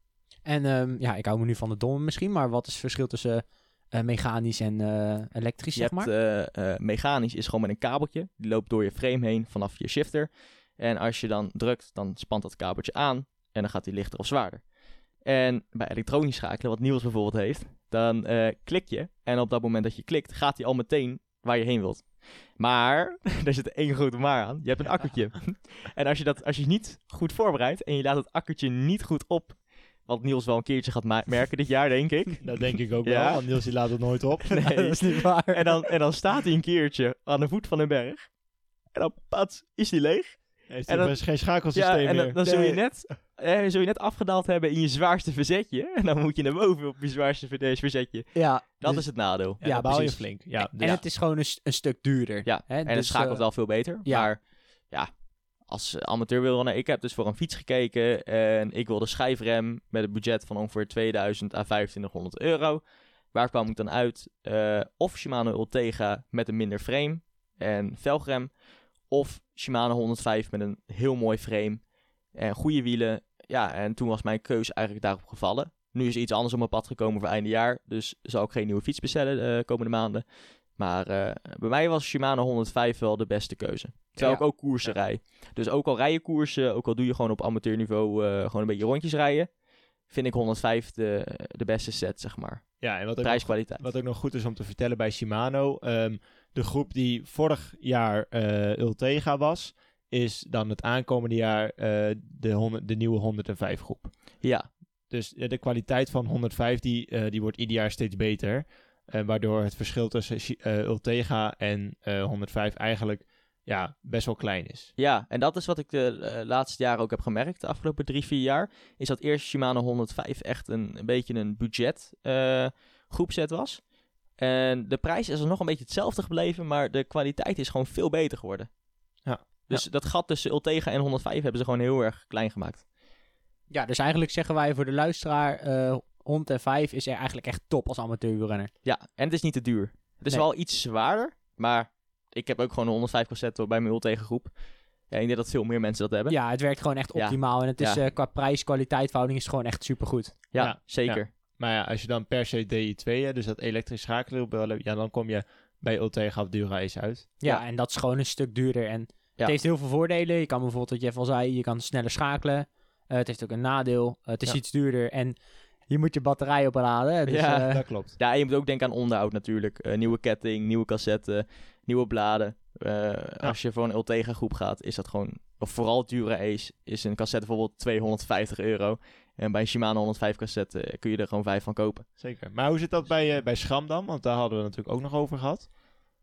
En ehm, ja, ik hou me nu van de domme misschien, maar wat is het verschil tussen eh, mechanisch en eh, elektrisch,
Je
zeg maar?
hebt eh, eh, mechanisch is gewoon met een kabeltje. Die loopt door je frame heen vanaf je shifter. En als je dan drukt, dan spant dat kabeltje aan en dan gaat die lichter of zwaarder. En bij elektronisch schakelen, wat Niels bijvoorbeeld heeft, dan eh, klik je. En op dat moment dat je klikt, gaat hij al meteen waar je heen wilt. Maar, daar zit één grote maar aan. Je hebt een akkertje. en als je dat als je niet goed voorbereidt en je laat het akkertje niet goed op, wat Niels wel een keertje gaat ma- merken dit jaar, denk ik.
Dat denk ik ook
Ja.
wel, want Niels die laat het nooit op.
Nee,
niet waar.
en dan, en dan staat hij een keertje aan de voet van een berg. En dan pats, is hij leeg.
Heeft
En
hij
dat-
best geen schakelsysteem
Ja, en dan,
meer.
dan zul, je
Nee.
net, eh, zul je net afgedaald hebben in je zwaarste verzetje. En dan moet je naar boven op je zwaarste verde- verzetje.
Ja,
Dat
Dus-
is het nadeel.
Ja,
Ja,
dan baal je
precies.
flink. Ja,
en
dus-
het is gewoon een, s- een stuk duurder.
Ja,
Hè,
en
dus,
het schakelt
eh,
wel veel beter.
ja.
Maar ja, als eh, amateur wielrenner, ik heb dus voor een fiets gekeken. En ik wilde schijfrem met een budget van ongeveer 2000 à 2500 euro. Waar kwam ik dan uit? Eh, of Shimano Ultegra met een minder frame en velgrem. Of Shimano 105 met een heel mooi frame en goede wielen. Ja, en toen was mijn keuze eigenlijk daarop gevallen. Nu is er iets anders op mijn pad gekomen voor einde jaar. Dus zal ik geen nieuwe fiets bestellen de komende maanden. Maar eh, bij mij was Shimano 105 wel de beste keuze. Terwijl
Ja.
ik ook koersen rij. Dus ook al rij je koersen, ook al doe je gewoon op amateurniveau eh, gewoon een beetje rondjes rijden. Vind ik 105 de, de beste set, zeg maar.
ja, en wat ook, nog,
Prijskwaliteit.
wat ook nog goed is om te vertellen bij Shimano. ehm, de groep die vorig jaar eh Ultega was, is dan het aankomende jaar eh, de, honderd- de nieuwe 105 groep.
Ja,
Dus eh, de kwaliteit van 105 die, eh, die wordt ieder jaar steeds beter. Eh, waardoor het verschil tussen Shi- eh, Ultega en eh, 105 eigenlijk ja, best wel klein is.
ja, en dat is wat ik de eh, laatste jaren ook heb gemerkt, de afgelopen drie, vier jaar. Is dat eerst Shimano 105 echt een, een beetje een budget eh, groepset was. En de prijs is er nog een beetje hetzelfde gebleven, maar de kwaliteit is gewoon veel beter geworden.
Ja.
Dus dat gat tussen Ultega en 105 hebben ze gewoon heel erg klein gemaakt.
Ja, dus eigenlijk zeggen wij voor de luisteraar... eh 105 is er eigenlijk echt top als amateur wielrenner.
Ja, en het is niet te duur. Het is
Nee.
wel iets zwaarder, maar ik heb ook gewoon een 105 cassette bij mijn ultegengroep. Ja, ik denk dat veel meer mensen dat hebben. Ja,
Ja, het werkt gewoon echt
Ja.
optimaal. En het is eh, qua prijs-kwaliteit verhouding is het gewoon echt supergoed.
Ja,
zeker.
Maar ja, als je dan per se DI2, hè, dus dat elektrisch schakelen, wil hebben, ja, dan kom je bij Ultega of Dura Ace uit.
Ja,
Ja.
en dat is gewoon een stuk duurder. En het heeft heel veel voordelen. Je kan bijvoorbeeld, wat Jeff al zei, je kan sneller schakelen. Eh, het heeft ook een nadeel. Eh, het is
Ja.
iets duurder en je moet je batterij opladen. Dus,
Ja.
eh,
dat klopt.
Ja, en je moet ook denken aan onderhoud natuurlijk. Eh, nieuwe ketting, nieuwe cassetten, nieuwe bladen. Eh, Als je voor een Ultega groep gaat, is dat gewoon... Of vooral dure Ace is een cassette bijvoorbeeld 250 euro. En bij een Shimano 105 cassette eh, kun je er gewoon vijf van kopen.
Zeker. Maar hoe zit dat bij, eh, bij Schram dan? Want daar hadden we het natuurlijk ook nog over gehad.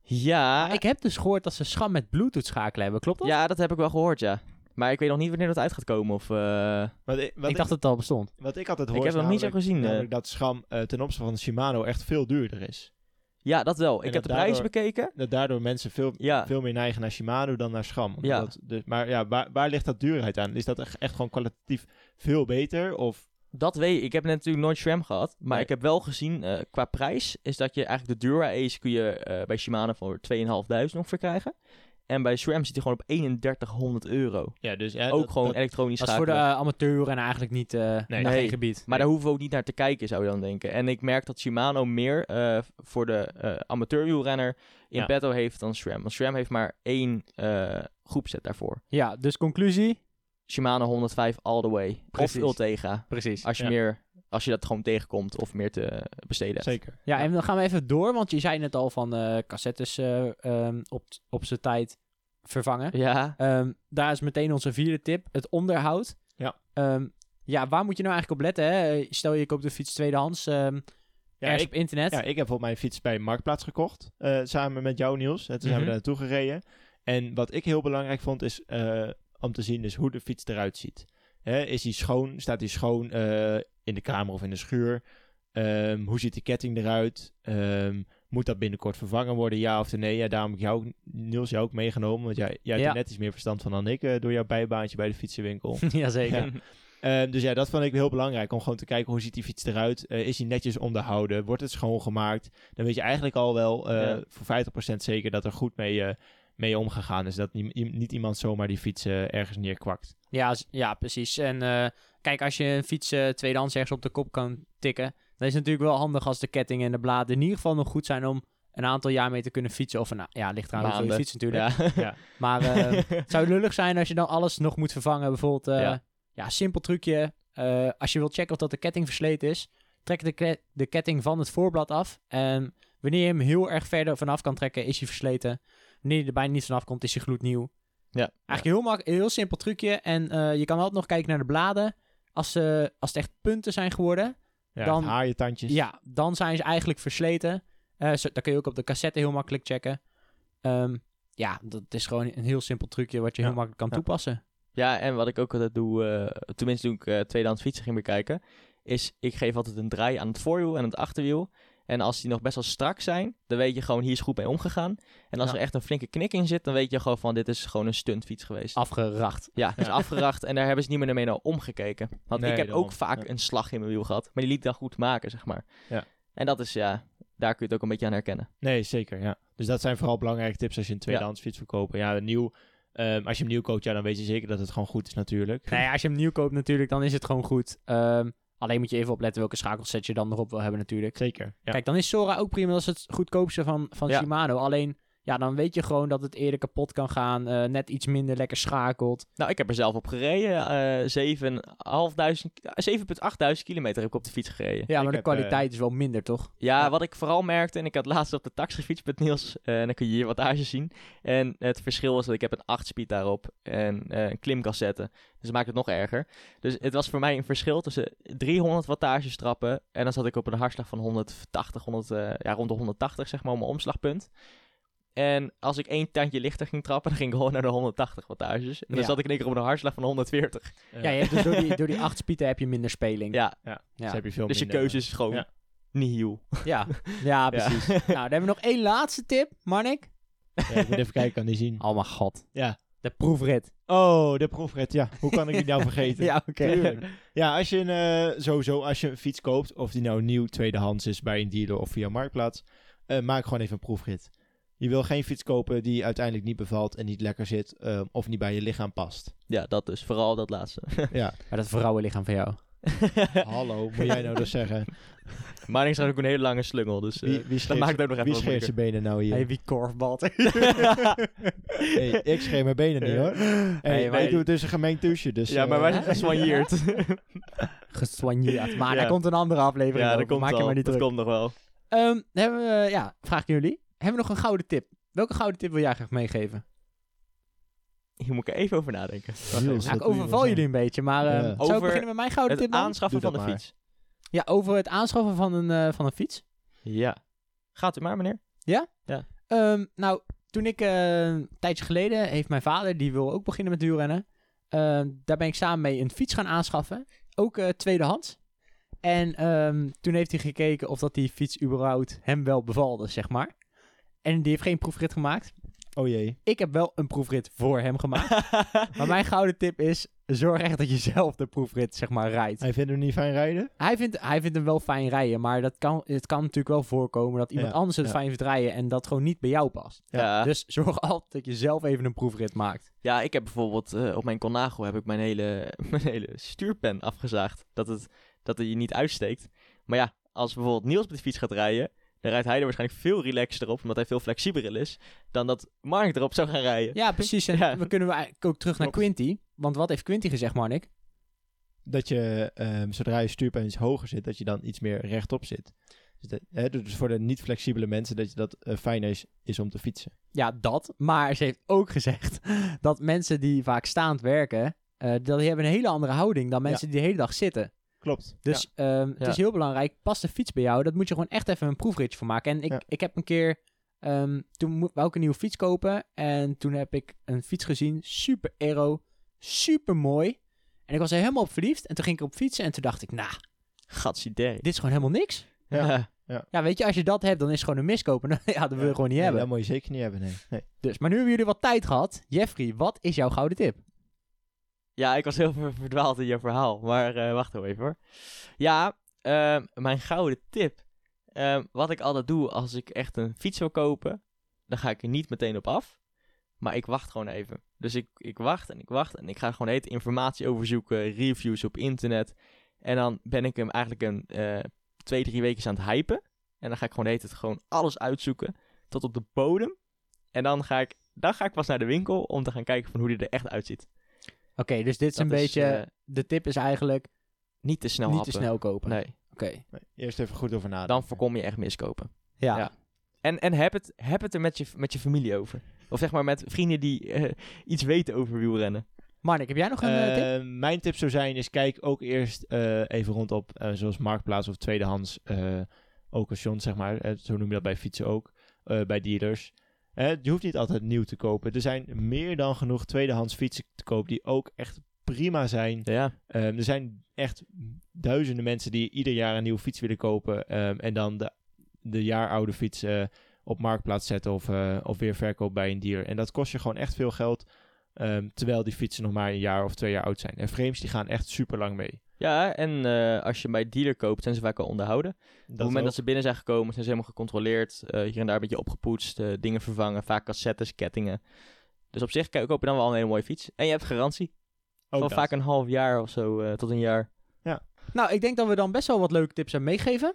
Ja,
ik heb dus gehoord dat ze scham met Bluetooth schakelen hebben. Klopt dat?
ja, dat heb ik wel gehoord, ja. Maar ik weet nog niet wanneer dat uit gaat komen. Of, eh,
Wat ik, wat
ik dacht dat het al bestond.
wat ik altijd hoor
ik heb
is
dat niet zo
namelijk-
gezien. eh.
namelijk dat Schram eh, ten opzichte van Shimano echt veel duurder is.
Ja, dat wel.
En
Ik
dat
heb de prijs
daardoor-
bekeken.
Dat daardoor mensen veel,
Ja,
veel meer neigen naar Shimano dan naar Schram.
Ja.
Omdat de- maar ja, waar, waar ligt dat duurheid aan? Is dat echt, echt gewoon kwalitatief veel beter? Of
dat weet ik. Ik heb net natuurlijk nooit SRAM gehad. Maar
Nee.
ik heb wel gezien, eh, qua prijs, is dat je eigenlijk de Dura Ace kun je eh, bij Shimano voor 2.500 ongeveer krijgen. En bij SRAM zit hij gewoon op 3100 euro.
ja, dus, ja,
ook
dat-
gewoon
dat-
elektronisch
Dat is voor de
schakelen.
eh, amateur en eigenlijk niet eh
Nee.
naar
Nee.
geen gebied.
Maar daar hoeven we ook niet naar te kijken, zou je dan denken. En ik merk dat Shimano meer eh, voor de eh amateurwielrenner in
Ja.
petto heeft dan SRAM. Want SRAM heeft maar één eh, groepset daarvoor.
Ja, dus conclusie?
Shimano 105 all the way.
Precies.
Of Ultega.
Precies.
Als je,
Ja.
meer, als je dat gewoon tegenkomt of meer te besteden hebt.
zeker.
Ja, en dan gaan we even door, want je zei net al van eh, cassettes eh, ehm, op, op zijn tijd vervangen.
Ja,
Ehm, daar is meteen onze vierde tip, het onderhoud.
Ja.
Ehm, ja, waar moet je nou eigenlijk op letten? Hè? Eh, Stel je koopt een fiets tweedehands ehm
Ja,
ergens
ik,
op internet.
ja, ik heb op mijn fiets bij Marktplaats gekocht. eh, samen met jou, Niels. En toen zijn we
Mhm.
daar naartoe gereden. En wat ik heel belangrijk vond, is eh, om te zien dus hoe de fiets eruit ziet. Hè, is hij schoon? Staat hij schoon eh, in de kamer of in de schuur? Ehm, hoe ziet de ketting eruit? Ehm, moet dat binnenkort vervangen worden, ja of nee? Ja, daarom heb ik jou, ook- Niels, jou ook meegenomen. Want jij, jij hebt
Ja.
er net iets meer verstand van dan ik eh, door jouw bijbaantje bij de fietsenwinkel.
Jazeker.
Ja. Ehm, dus ja, dat vond ik heel belangrijk. Om gewoon te kijken hoe ziet die fiets eruit. Eh, is hij netjes onderhouden? Wordt het schoongemaakt? Dan weet je eigenlijk al wel eh,
Ja.
voor 50% zeker dat er goed mee, eh, mee omgegaan is. Dat nie- i- niet iemand zomaar die fiets eh, ergens neerkwakt.
Ja, z- ja, precies. En eh, kijk, als je een fiets eh, tweedehands ergens op de kop kan tikken, dan is het natuurlijk wel handig als de ketting en de bladen in ieder geval nog goed zijn om een aantal jaar mee te kunnen fietsen. Of nou, ja, ligt eraan hoeveel je
Maanden.
fietst natuurlijk.
Ja.
Maar eh,
ehm,
het zou lullig zijn als je dan alles nog moet vervangen. Bijvoorbeeld, eh, ja.
Ja.
simpel trucje. Eh, als je wilt checken of dat de ketting versleten is, trek de, ke- de ketting van het voorblad af. En wanneer je hem heel erg verder vanaf kan trekken, is hij versleten. Wanneer je er bijna niet vanaf komt, is hij gloednieuw.
Ja.
Eigenlijk heel mak, heel simpel trucje. En eh, je kan altijd nog kijken naar de bladen. Als, ze, als het echt punten zijn geworden,
Ja,
Dan-
dan, haaien tandjes.
ja, dan zijn ze eigenlijk versleten. Eh zo, dan kun je ook op de cassette heel makkelijk checken. Ehm, ja, dat is gewoon een heel simpel trucje wat je
Ja.
heel makkelijk kan
Ja.
toepassen.
Ja, en wat ik ook altijd doe, eh, tenminste toen ik eh, tweedehands fietsen ging bekijken, is ik geef altijd een draai aan het voorwiel en het achterwiel. En als die nog best wel strak zijn, dan weet je gewoon hier is goed mee omgegaan. En als
Ja.
er echt een flinke knik in zit, dan weet je gewoon van dit is gewoon een stuntfiets
Ah.
geweest.
Afgeracht.
Ja, is afgeracht en daar hebben ze niet meer naar mee naar omgekeken. Want
Nee,
ik heb
daarom.
ook vaak
Ja.
een slag in mijn wiel gehad, maar die liet ik dan goed maken, zeg maar.
Ja.
En dat is ja, daar kun je het ook een beetje aan herkennen.
Nee, zeker, ja. Dus dat zijn vooral belangrijke tips als je een tweedehands fiets wil kopen. Ja, een nieuw, ehm, als je hem nieuw koopt, ja, dan weet je zeker dat het gewoon goed is natuurlijk.
Nou ja, als je hem nieuw koopt natuurlijk, dan is het gewoon goed. Ehm, alleen moet je even opletten welke schakelset je dan nog op wil hebben natuurlijk.
Zeker, ja.
Kijk, dan is Sora ook prima. Dat is het goedkoopste van, van
Ja.
Shimano. Alleen, ja, dan weet je gewoon dat het eerder kapot kan gaan. eh, net iets minder lekker schakelt.
Nou, ik heb er zelf op gereden. eh 7.500 7.800 kilometer heb ik op de fiets gereden.
Ja, maar
Ik
de
heb, eh,
kwaliteit is wel minder, toch?
Ja, wat ik vooral merkte, en ik had laatst op de tax gefietst met Niels, eh, en dan kun je hier wat ages zien. En het verschil was dat ik heb een 8-speed daarop en eh, een klimcassette. Dus dat maakt het nog erger. Dus het was voor mij een verschil tussen 300 wattages trappen en dan zat ik op een hartslag van 180, 100, eh, ja, rond de 180 zeg maar, op mijn omslagpunt. En als ik één tandje lichter ging trappen, dan ging ik gewoon naar de 180 wattages. En dan
Ja.
zat ik in één keer op een hartslag van 140.
Ja,
Ja, je hebt dus door die, door die acht spieten heb je minder speling.
Ja,
Dus
Ja.
heb je veel
dus je
minder-
keuze is gewoon
Ja.
nihil.
Ja, precies. nou, dan hebben we nog één laatste tip, Marnik.
eh, Ja, ik moet even kijken, kan die zien.
Oh mijn god.
Ja.
De proefrit.
Oh, de proefrit, ja. Hoe kan ik die nou vergeten?
Ja, oké.
Tuurlijk. Ja, als je een, eh, sowieso, als je een fiets koopt, of die nou nieuw tweedehands is bij een dealer of via Marktplaats, eh, maak gewoon even een proefrit. Je wil geen fiets kopen die uiteindelijk niet bevalt en niet lekker zit, eh, of niet bij je lichaam past.
Ja, dat dus. Vooral dat laatste.
Maar dat vrouwenlichaam van jou.
Hallo, moet jij nou dus zeggen?
Maar ik had ook een hele lange slungel, dus eh,
Wie, wie
dat
scheert,
maakt het ook nog even
wie
wat
scheert zijn benen nou hier?
Hey, wie korfbalt.
Hey, ik scheer mijn benen niet hoor. Hey,
Hey,
wij
maar-
doen het dus een gemengd douche, dus...
Ja, maar wij
eh,
zijn gesoigneerd.
Gesoigneerd. Maar
Ja.
daar komt een andere aflevering
ja,
over.
dat komt
Maak je
al.
maar niet
dat
druk.
komt nog wel.
Ehm, dan hebben we, ja, vraag ik jullie. Hebben we nog een gouden tip? Welke gouden tip wil jij graag meegeven?
Hier moet ik even over nadenken.
Jules,
Ja, ik
dat doe je wel
overval
zo.
jullie een beetje, maar
Ja.
ehm zou ik
Over
beginnen met mijn gouden
Het
tip dan?
aanschaffen
Doe
van
dat
de
maar.
fiets.
Ja, over het aanschaffen van een, eh, van een fiets.
Ja. Gaat u maar, meneer.
Ehm, nou, toen ik eh, een tijdje geleden heeft mijn vader, die wil ook beginnen met duurrennen. Ehm, daar ben ik samen mee een fiets gaan aanschaffen. Ook eh, tweedehands. En ehm, toen heeft hij gekeken of dat die fiets überhaupt hem wel bevalde, zeg maar. En die heeft geen proefrit gemaakt.
Oh jee.
Ik heb wel een proefrit voor hem gemaakt. maar mijn gouden tip is, zorg echt dat je zelf de proefrit, zeg maar, rijdt.
Hij vindt hem niet fijn rijden?
Hij vindt, hij vindt hem wel fijn rijden, maar dat kan, het kan natuurlijk wel voorkomen dat iemand
Ja,
anders het
ja.
fijn vindt rijden en dat gewoon niet bij jou past.
Ja. Ja.
Dus zorg altijd dat je zelf even een proefrit maakt.
ik heb bijvoorbeeld eh, op mijn Colnago heb ik mijn hele, mijn hele stuurpen afgezaagd. Dat het, dat het je niet uitsteekt. Maar ja, als bijvoorbeeld Niels met de fiets gaat rijden, dan rijdt hij er waarschijnlijk veel relaxter op, omdat hij veel flexibeler is, dan dat Mark erop zou gaan rijden.
Ja, precies. En
Ja.
we kunnen we eigenlijk ook terug naar Quinty. Want wat heeft Quinty gezegd, Marnik?
dat je ehm, zodra je stuurpijn iets hoger zit, dat je dan iets meer rechtop zit. Dus, dat, hè, dus voor de niet flexibele mensen dat je dat eh, fijner is, is om te fietsen.
Ja, dat. Maar ze heeft ook gezegd dat mensen die vaak staand werken, eh, dat die hebben een hele andere houding dan mensen die de hele dag zitten.
Klopt.
Dus ehm, het
Ja.
is heel belangrijk, past de fiets bij jou? Dat moet je gewoon echt even een proefritje voor maken. En ik,
Ja.
ik heb een keer, ehm, toen mo- wou ik een nieuwe fiets kopen. En toen heb ik een fiets gezien, super aero, super mooi. En ik was er helemaal op verliefd. En toen ging ik op fietsen en toen dacht ik, nou,
Gatsidee.
dit is gewoon helemaal niks.
Ja.
Ja, weet je, als je dat hebt, dan is het gewoon een miskoop. En dan- ja, dat wil je gewoon niet
Nee,
hebben.
dat moet je zeker niet hebben, nee. nee.
Dus, maar nu hebben jullie wat tijd gehad. Jeffrey, wat is jouw gouden tip?
Ja, ik was heel ver- verdwaald in je verhaal. Maar eh, wacht heel even hoor. Ja, ehm, mijn gouden tip. Ehm, wat ik altijd doe als ik echt een fiets wil kopen, dan ga ik er niet meteen op af. Maar ik wacht gewoon even. Dus ik, ik wacht en ik wacht en ik ga gewoon eten informatie overzoeken, reviews op internet. En dan ben ik hem eigenlijk een eh, twee, drie weken aan het hypen. En dan ga ik gewoon eten, gewoon alles uitzoeken. tot op de bodem. En dan ga ik, dan ga ik pas naar de winkel om te gaan kijken van hoe die er echt uitziet.
Oké, dus dit is
Dat
een beetje...
eh,
de tip is eigenlijk
niet te snel
niet te
happen.
snel kopen.
Nee,
Oké.
Nee, Eerst even goed over nadenken.
dan voorkom je echt miskopen.
Ja.
Ja. En, en heb, het, heb het er met je, met je familie over. Of zeg maar met vrienden die eh, iets weten over wielrennen.
Marnik, heb jij nog een eh, tip?
Eh, mijn tip zou zijn is kijk ook eerst eh, even rondop, eh, zoals Marktplaats of Tweedehands eh occasion, zeg maar. Eh, zo noem je dat bij fietsen ook, eh, bij dealers. Eh, je hoeft niet altijd nieuw te kopen. Er zijn meer dan genoeg tweedehands fietsen te koop die ook echt prima zijn.
Ja.
Ehm, er zijn echt duizenden mensen die ieder jaar een nieuwe fiets willen kopen. ehm, en dan de, de jaaroude fiets eh, op marktplaats zetten of, eh, of weer verkoop bij een dier. En dat kost je gewoon echt veel geld. ehm, terwijl die fietsen nog maar een jaar of twee jaar oud zijn. En frames die gaan echt super lang mee.
Ja, en eh, als je bij dealer koopt, zijn ze vaak al onderhouden.
Dat
Op het moment
ook.
dat ze binnen zijn gekomen, zijn ze helemaal gecontroleerd. eh, hier en daar een beetje opgepoetst, eh, dingen vervangen, vaak cassettes, kettingen. Dus op zich ko- koop je dan wel een hele mooie fiets. En je hebt garantie.
Ook
Van
dat.
vaak een half jaar of zo eh, tot een jaar.
Nou, ik denk dat we dan best wel wat leuke tips hebben meegeven.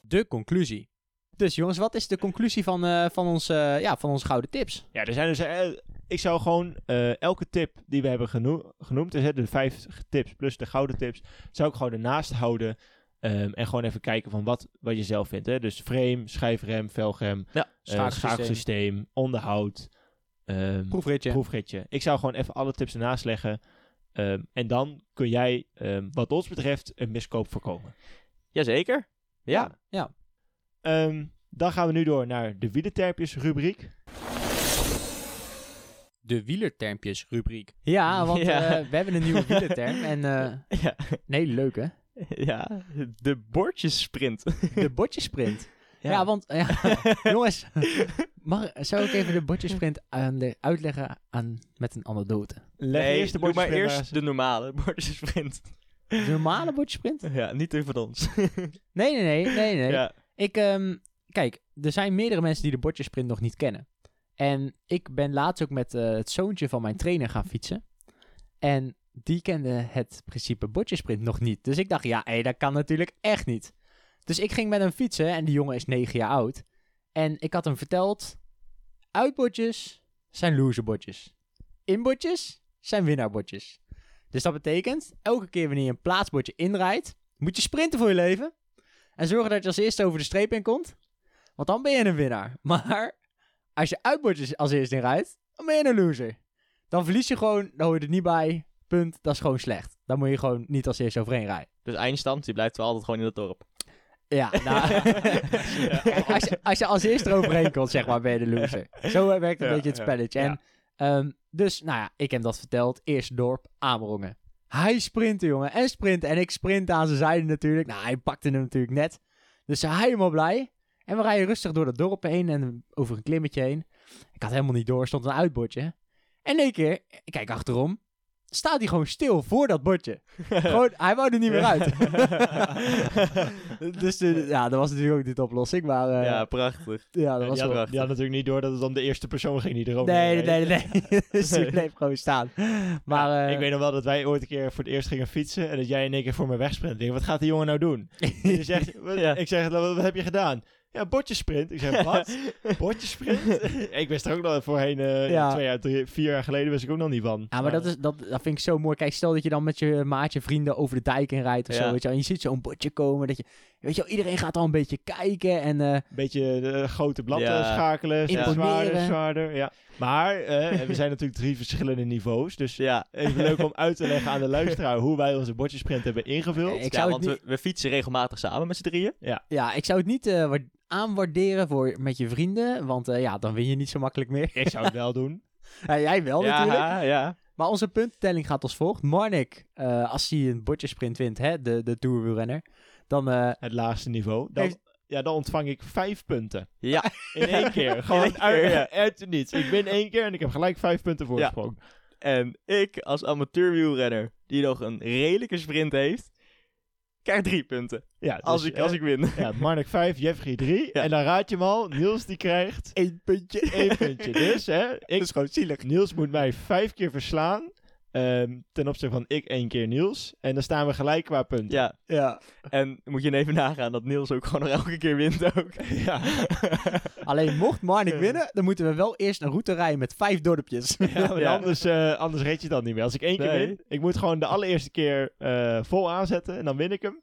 De conclusie. Dus jongens, wat is de conclusie van, eh, van, onze, eh, ja, van onze gouden tips?
Ja, er zijn dus. eh, ik zou gewoon eh, elke tip die we hebben geno- genoemd, dus hè, de vijf tips plus de gouden tips, zou ik gewoon ernaast houden. ehm, en gewoon even kijken van wat, wat je zelf vindt. Hè? Dus frame, schijfrem, velgrem, eh,
Schakelsysteem.
schakelsysteem, onderhoud, ehm,
Proefritje.
proefritje. Ik zou gewoon even alle tips ernaast leggen. ehm, en dan kun jij, ehm, wat ons betreft, een miskoop voorkomen.
Jazeker. Ja.
Ehm, dan gaan we nu door naar de wielerterpjes rubriek.
De wielertermpjes rubriek.
Ja, want
Ja.
eh, we hebben een nieuwe wielerterm. En eh
Ja.
een hele leuke.
ja. De bordjessprint.
De bordjesprint. Ja, want ja, jongens, mag, zou ik even de bordjesprint aan de, uitleggen aan, met een anekdote?
Leg
Nee,
eerst de
doe maar
bordjes weer
eerst de normale bordjessprint.
De normale bordjesprint?
ja, niet die van ons.
Nee, nee, nee, nee, nee.
Ja.
Ik, ehm, kijk, er zijn meerdere mensen die de bordjesprint nog niet kennen. En ik ben laatst ook met eh, het zoontje van mijn trainer gaan fietsen. En die kende het principe bordjesprint nog niet. Dus ik dacht, ja, hé, dat kan natuurlijk echt niet. Dus ik ging met hem fietsen en die jongen is 9 jaar oud. En ik had hem verteld, uitbordjes zijn loserbordjes. Inbordjes zijn winnaarbordjes. Dus dat betekent, elke keer wanneer je een plaatsbordje inrijdt, moet je sprinten voor je leven. En zorgen dat je als eerste over de streep in komt. Want dan ben je een winnaar. Maar als je uitbordjes als eerste inrijdt, dan ben je een loser. Dan verlies je gewoon, dan hoor je er niet bij. Punt, dat is gewoon slecht. Dan moet je gewoon niet als eerste overheen rijden.
Dus eindstand, die blijft wel altijd gewoon in het dorp.
Ja, nou, Kijk, als, je, als je als eerste eroverheen komt, zeg maar, ben je de loser. Zo eh, werkt een
Ja,
beetje het
ja,
spelletje. En, ehm, dus, nou ja, ik heb dat verteld. Eerst dorp, Amerongen. Hij sprintte, jongen, en sprintte. En ik sprint aan zijn zijde natuurlijk. Nou, hij pakte hem natuurlijk net. Dus hij helemaal blij. En we rijden rustig door dat dorp heen en over een klimmetje heen. Ik had helemaal niet door, er stond een uitbordje. En in één keer, ik kijk achterom, staat hij gewoon stil voor dat bordje. gewoon, hij wou er niet meer uit. dus eh, ja, dat was natuurlijk ook niet de oplossing, maar eh,
ja,
ja,
prachtig.
dat
Ja,
was
die,
wel...
had, die had natuurlijk niet door dat het dan de eerste persoon ging die erover
Nee, nee, nee, nee. dus die bleef gewoon staan. Maar eh,
ik weet nog wel dat wij ooit een keer voor het eerst gingen fietsen en dat jij en ik keer voor me wegsprint. Ik denk, wat gaat die jongen nou doen? Je zegt, wat-
Ja.
Ik zeg, wat, wat heb je gedaan? Ja, bordjesprint. Ik zeg, wat? bordjesprint? ik wist er ook nog voorheen, eh,
Ja.
twee jaar, drie, vier jaar geleden wist ik ook nog niet van.
Ja, maar dat, is, dat, dat vind ik zo mooi. Kijk, stel dat je dan met je maatje, vrienden over de dijk in rijdt of
Ja.
zo. Weet je, wel. en je ziet zo'n bordje komen. Dat je, weet je, wel, iedereen gaat al een beetje kijken. En eh,
Een beetje de grote blad
Ja.
eh, schakelen, steeds zwaarder,
Imponeren.
zwaarder. Ja. Maar eh, we zijn natuurlijk drie verschillende niveaus, dus...
Ja.
Even leuk om uit te leggen aan de luisteraar hoe wij onze bordjesprint hebben ingevuld.
ik
ja,
zou het
want
niet-
we, we fietsen regelmatig samen met z'n drieën.
ja, ik zou het niet eh, wa- aanwaarderen voor, met je vrienden. Want eh, ja, dan win je niet zo makkelijk meer.
Ik zou het wel doen.
Ja, jij wel
ja,
Oh, natuurlijk.
ja.
Maar onze puntentelling gaat als volgt. Marnik, eh, als hij een bordjesprint wint, hè, de, de toerwielrenner, dan... eh,
Het laagste niveau. Dan,
Heeft-
ja, dan ontvang ik vijf punten.
Ja.
In één keer. Gewoon
één keer,
uit,
ja.
uit het niets. Ik win één keer en ik heb gelijk vijf punten voorsprong.
En ik als amateurwielrenner, die nog een redelijke sprint heeft, krijg drie punten.
Ja, dus,
Als, ik,
eh,
als ik win.
Ja, Marnik vijf, Jeffrey drie.
Ja.
En dan raad je hem al. Niels die krijgt
Eén puntje.
één puntje. Dus hè, ik,
is gewoon zielig.
Niels moet mij vijf keer verslaan. Eh, ehm, ten opzichte van ik één keer Niels. En dan staan we gelijk qua punten.
Ja,
ja.
en moet je even nagaan dat Niels ook gewoon nog elke keer wint ook.
Ja.
Alleen mocht Marnik winnen, dan moeten we wel eerst een route rijden met vijf dorpjes.
Ja, want
Ja.
Anders, eh, anders red je dat niet meer. Als ik één keer
Nee.
win, ik moet gewoon de allereerste keer eh, vol aanzetten en dan win ik hem.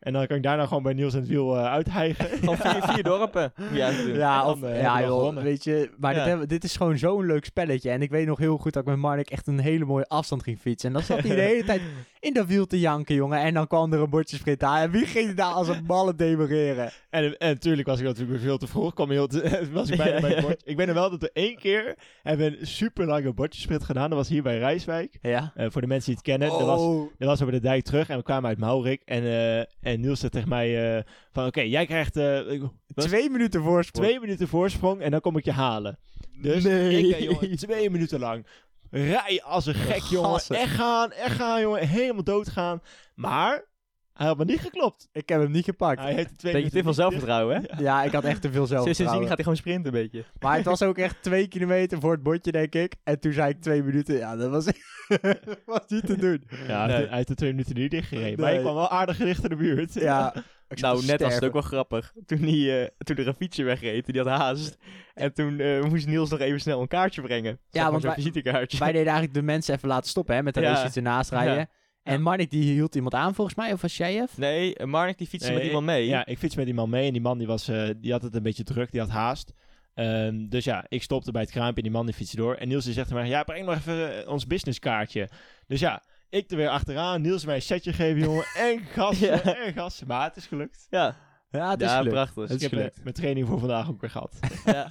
En dan kan ik daarna gewoon bij Niels en het wiel eh uithijgen.
Van vier, vier dorpen. Ja, doen.
Ja,
dan,
of,
eh, heb
ja
je wel
joh,
gewonnen.
weet je, maar dit,
Ja.
hebben- dit is gewoon zo'n leuk spelletje. En ik weet nog heel goed dat ik met Marnik echt een hele mooie afstand ging fietsen. En dan zat hij de hele tijd in dat wiel te janken, jongen. En dan kwam er een bordjesprint aan. En wie ging daar als een malle demareren?
En, en natuurlijk was ik natuurlijk veel te vroeg. Kwam heel te- was ik bijna bij het bordje. Ik weet nog wel dat we één keer hebben we een super lange bordjesprint gedaan. Dat was hier bij Rijswijk.
Ja.
Eh, voor de mensen die het kennen, dat
Oh.
was Dat was over de dijk terug en we kwamen uit Maurik. En, eh, en Niels zei tegen mij eh, van, oké, jij krijgt eh, ik- was-
twee minuten voorsprong.
twee minuten voorsprong en dan kom ik je halen. Dus
Nee.
ik, eh, jongen, twee minuten lang. Rij als een gek, jongen.
Gassen.
Echt gaan, echt gaan, jongen. Helemaal doodgaan. Maar hij had me niet geklopt.
Ik heb hem niet gepakt.
Hij heeft de twee
Beetje te
minuten
veel
niet-
zelfvertrouwen, hè?
Ja, ik had echt te veel
Sinds- Sindsdien
zelfvertrouwen.
gaat hij gewoon sprinten een beetje.
Maar het was ook echt twee kilometer voor het bordje, denk ik. En toen zei ik twee minuten. Ja, dat was, dat was niet te doen.
Ja, hij
Nee.
heeft- hij heeft de twee minuten niet dichtgereden. Maar
Nee.
ik kwam wel aardig richting de buurt.
Ja, ik zat
Nou,
te
net was het
sterven.
ook wel grappig. Toen, hij, eh, toen er een fietsje wegreed, die had haast. En toen eh, moest Niels nog even snel een kaartje brengen. Zeg maar
want
zo'n
wij-
visitekaartje.
Wij deden eigenlijk de mensen even laten stoppen, hè, met de
Ja.
race iets ernaast rijden.
Ja.
En Marnik die hield iemand aan volgens mij, of was jij even?
Nee, eh, Marnik die fietste
Nee,
met
ik-
iemand mee.
Ja, ik fiets met die man mee en die man die was, eh, die had het een beetje druk, die had haast. Ehm, dus ja, ik stopte bij het kraampje en die man die fietste door. En Niels die zegt tegen mij, ja, breng nog even eh, ons businesskaartje. Dus ja, ik er weer achteraan, Niels mij een setje geven, jongen. En gas,
Ja.
en gas. Maar het is gelukt.
ja.
Ja, het is
Ja,
gelukt.
prachtig.
Het is
ik heb eh,
gelukt.
mijn training voor vandaag ook weer gehad.
Ja.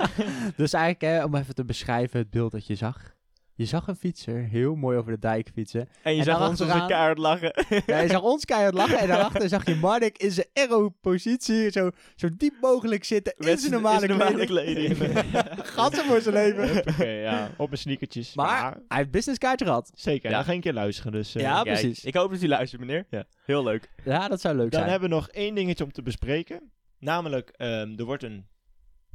Dus eigenlijk, hè, om even te beschrijven het beeld dat je zag. Je zag een fietser heel mooi over de dijk fietsen.
En je
En
zag
dan
ons als een
achteraan-
kaart lachen.
Ja, je zag ons keihard lachen en daarachter zag je Marnik in zijn aero-positie zo, zo diep mogelijk zitten in zijn normale kleding. Gatten voor zijn leven.
Huppakee, ja, op mijn sneakertjes.
Maar- Hij heeft businesskaartje gehad.
zeker,
Ja.
dan ga ik een keer luisteren. Dus, eh,
Ja,
Kijk,
precies.
Ik hoop dat u luistert, meneer.
Ja.
Heel leuk.
Ja, dat zou leuk
Dan
zijn.
hebben we nog één dingetje om te bespreken. Namelijk, ehm, er wordt een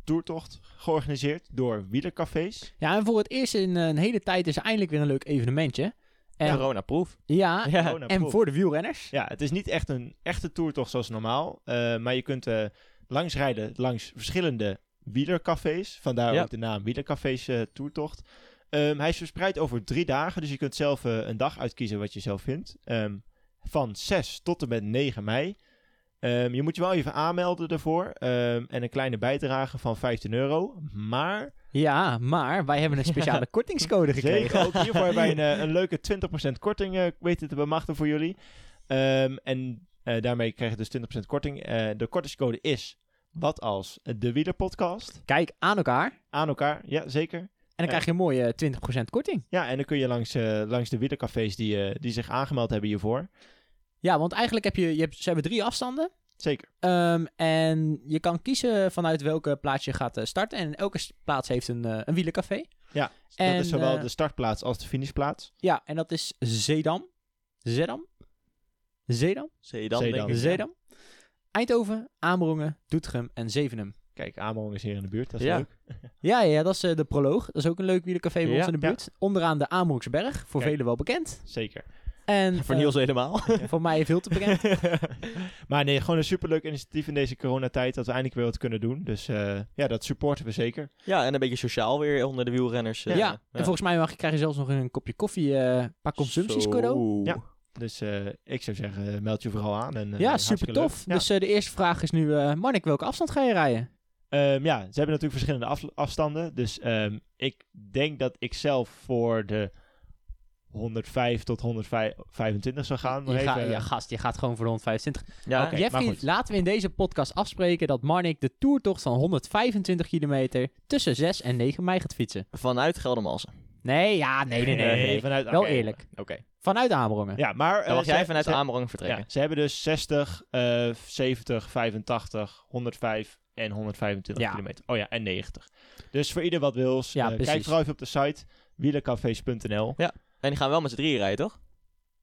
toertocht georganiseerd door wielercafés.
Ja, en voor het eerst in eh, een hele tijd is er eindelijk weer een leuk evenementje. En, ja,
Corona-proof.
Oh, nou,
en
proef.
voor de wielrenners.
Ja, het is niet echt een echte toertocht zoals normaal. eh, maar je kunt eh langs rijden langs verschillende wielercafés. Vandaar
Ja.
ook de naam wielercafés eh, toertocht. Ehm, hij is verspreid over drie dagen. Dus je kunt zelf eh, een dag uitkiezen wat je zelf vindt. Ehm, van 6 tot en met 9 mei. Ehm, je moet je wel even aanmelden daarvoor. Ehm, en een kleine bijdrage van 15 euro. Maar
Ja, maar wij hebben een speciale kortingscode gekregen.
Zeker, ook hiervoor hebben wij een, eh, een leuke 20% korting eh, weten te bemachtigen voor jullie. Ehm, en eh, daarmee krijg je dus 20% korting. Eh, de kortingscode is wat als de wielerpodcast.
Kijk aan elkaar en
Aan elkaar, ja zeker.
dan
Ja.
krijg je een mooie 20% korting.
Ja, en dan kun je langs, eh, langs de wielercafés die, eh, die zich aangemeld hebben hiervoor.
Ja, want eigenlijk heb je, je hebt, ze hebben drie afstanden.
Zeker.
Ehm, en je kan kiezen vanuit welke plaats je gaat eh, starten. En elke s- plaats heeft een, eh, een wielercafé.
Ja,
En,
Dus dat is zowel
eh,
de startplaats als de finishplaats.
Ja, en dat is Zedam. Zedam? Zedam?
Zeedan,
Zeedan.
denk ik.
Zedam. Eindhoven, Amerongen, Doetinchem en Zevenum.
Kijk, Amerongen is hier in de buurt, dat is
Ja.
leuk.
Ja, ja, dat is eh, de proloog. Dat is ook een leuk wielercafé bij
Ja,
ons in de
ja.
buurt. Onderaan de Ameronksberg, voor
Kijk.
velen wel bekend.
Zeker.
En
Voor
eh,
Niels helemaal.
voor mij veel te bekend.
maar nee, gewoon een superleuk initiatief in deze coronatijd dat we eindelijk weer wat kunnen doen. Dus eh, ja, dat supporten we zeker.
Ja, en een beetje sociaal weer onder de wielrenners. eh,
Ja, en volgens mij mag je, krijg je zelfs nog een kopje koffie, eh, een paar consumpties cadeau.
Zo.
Ja. Dus eh, ik zou zeggen, eh, meld je vooral aan. En, eh,
Ja,
hartstikke
super tof.
leuk. Ja.
Dus eh, de eerste vraag is nu, eh Marnik, welke afstand ga je rijden?
Ehm, ja, ze hebben natuurlijk verschillende af- afstanden. Dus ehm, ik denk dat ik zelf voor de 105 tot 125 zou gaan. Maar
Je ga-
even-
ja, gast, je gaat gewoon voor de 125.
Ja,
Oké, maar
Jeffrey,
goed.
laten we in deze podcast afspreken dat Marnik de toertocht van 125 kilometer tussen 6 en 9 mei gaat fietsen.
vanuit Geldermalsen.
Eh,
Nee, ja, nee, nee, nee. nee, nee.
vanuit,
Wel
oké.
eerlijk.
Oké.
Vanuit Amerongen.
Ja, maar... eh,
Dan mag
ze-
jij vanuit
ze-
Amerongen
ja,
vertrekken.
Ze hebben dus 60, eh, 70, 85, 105 en 125
Ja.
kilometer. Oh ja, en 90. Dus voor ieder wat wils,
Ja,
eh,
precies.
kijk vooral even op de site wielercafés.nl.
En die gaan wel met z'n drieën rijden, toch?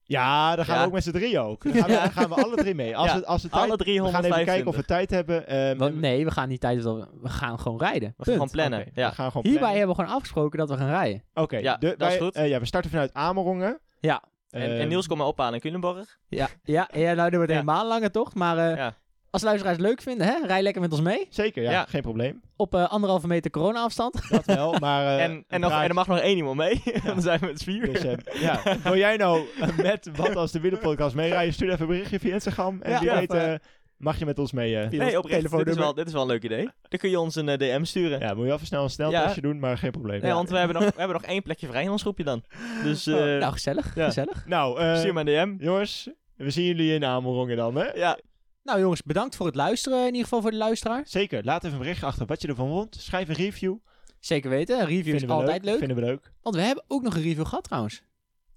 Ja, dan gaan
Ja.
we ook met z'n drieën ook. Dan gaan we, dan gaan we alle drie mee. Als
Ja,
we, als we, tijd,
Alle
we gaan
325.
even kijken of we tijd hebben. ehm,
Want
en-
nee, we gaan niet tijdens dat we gaan gewoon rijden.
We gaan gewoon
Punt.
plannen.
Oké,
Ja.
we gaan gewoon
Hierbij
plannen.
hebben we gewoon afgesproken dat we gaan rijden.
Oké,
Ja,
de-
dat is
wij-
goed.
eh, ja, we starten vanuit Amerongen.
Ja.
En,
Ehm,
en Niels, kom maar ophalen in Culemborg.
Ja, ja, ja nou, dat wordt
Ja.
helemaal langer toch? Maar eh,
Ja.
als luisteraars het leuk vinden, hè, rij lekker met ons mee.
Zeker, ja,
Ja.
geen probleem.
Op eh, anderhalve meter corona-afstand.
Dat wel, maar... eh,
en, en,
een
nog, en
praatje-
er mag nog één iemand mee. Dan zijn we met vier.
Dus, eh, ja, wil jij nou eh, met Wat als de Wielerpodcast meerijden? Stuur even een berichtje via Instagram. En
Ja,
wie
of,
weet eh, mag je met ons mee. eh.
nee, oprecht. Dit is,
telefoonnummer.
wel, dit is wel een leuk idee. Dan kun je ons een eh, DM sturen.
Ja, moet je even snel een sneltestje doen, maar geen probleem.
Nee,
Ja.
want we hebben, nog, we hebben nog één plekje vrij in ons groepje dan. Dus eh,
nou, gezellig,
ja.
gezellig.
Nou, eh,
stuur maar een DM.
jongens, we zien jullie in Amerongen dan, hè?
Ja,
Nou jongens, bedankt voor het luisteren in ieder geval voor de luisteraar.
Zeker, laat even een bericht achter wat je ervan vond. Schrijf een review.
Zeker weten, een review
Vinden
is
we
altijd leuk.
Vinden we leuk.
Want we hebben ook nog een review gehad trouwens.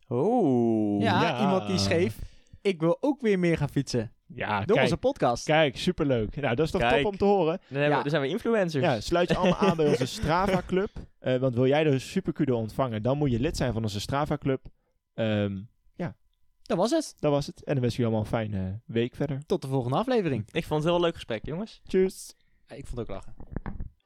Oh.
Ja,
ja.
iemand die schreef, ik wil ook weer meer gaan fietsen.
Ja,
Door
kijk,
onze podcast.
kijk, superleuk. Nou, dat is toch
Kijk.
top om te horen.
Dan, hebben,
Ja.
we- dan zijn we influencers.
Ja, sluit je allemaal aan bij onze Strava Club. Eh, want wil jij de superkudo ontvangen, dan moet je lid zijn van onze Strava Club. Ehm,
Dat was het.
dat was het. En dan wens ik jullie allemaal een fijne week verder.
Tot de volgende aflevering.
Ik vond het wel een leuk gesprek, jongens.
Tjus.
Ja, ik vond het ook lachen.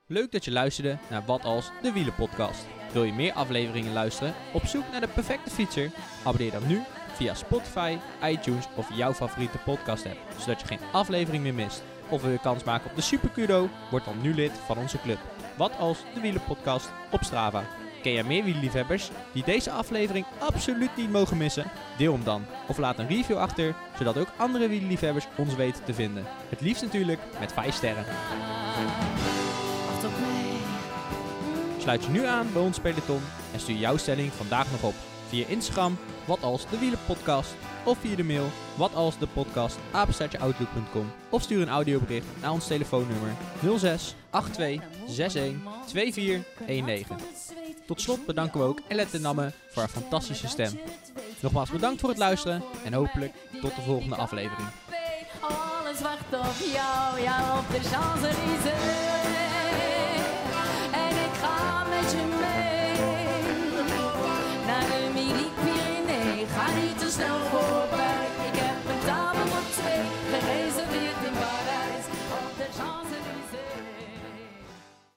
Leuk dat je luisterde naar Wat als de Wielenpodcast. Wil je meer afleveringen luisteren? Op zoek naar de perfecte fietser? Abonneer dan nu via Spotify, iTunes of jouw favoriete podcast app, zodat je geen aflevering meer mist. Of wil je kans maken op de Supercudo? Word dan nu lid van onze club. Wat als de Wielenpodcast op Strava. Ken jij meer wielerliefhebbers die deze aflevering absoluut niet mogen missen? Deel hem dan of laat een review achter, zodat ook andere wielerliefhebbers ons weten te vinden. Het liefst natuurlijk met 5 sterren.
Ah, Wacht op mij.
Sluit je nu aan bij ons peloton en stuur jouw stelling vandaag nog op via Instagram wat als de wielenpodcast of via de mail wat als de podcast outlook.com of stuur een audiobericht naar ons telefoonnummer 06 82 61 2419. Tot slot bedanken we ook Ellen Namme voor haar fantastische stem. Nogmaals bedankt voor het luisteren en hopelijk tot de volgende aflevering.
Alles wacht op jou, ja op de Champs-Élysées. En ik ga met je mee.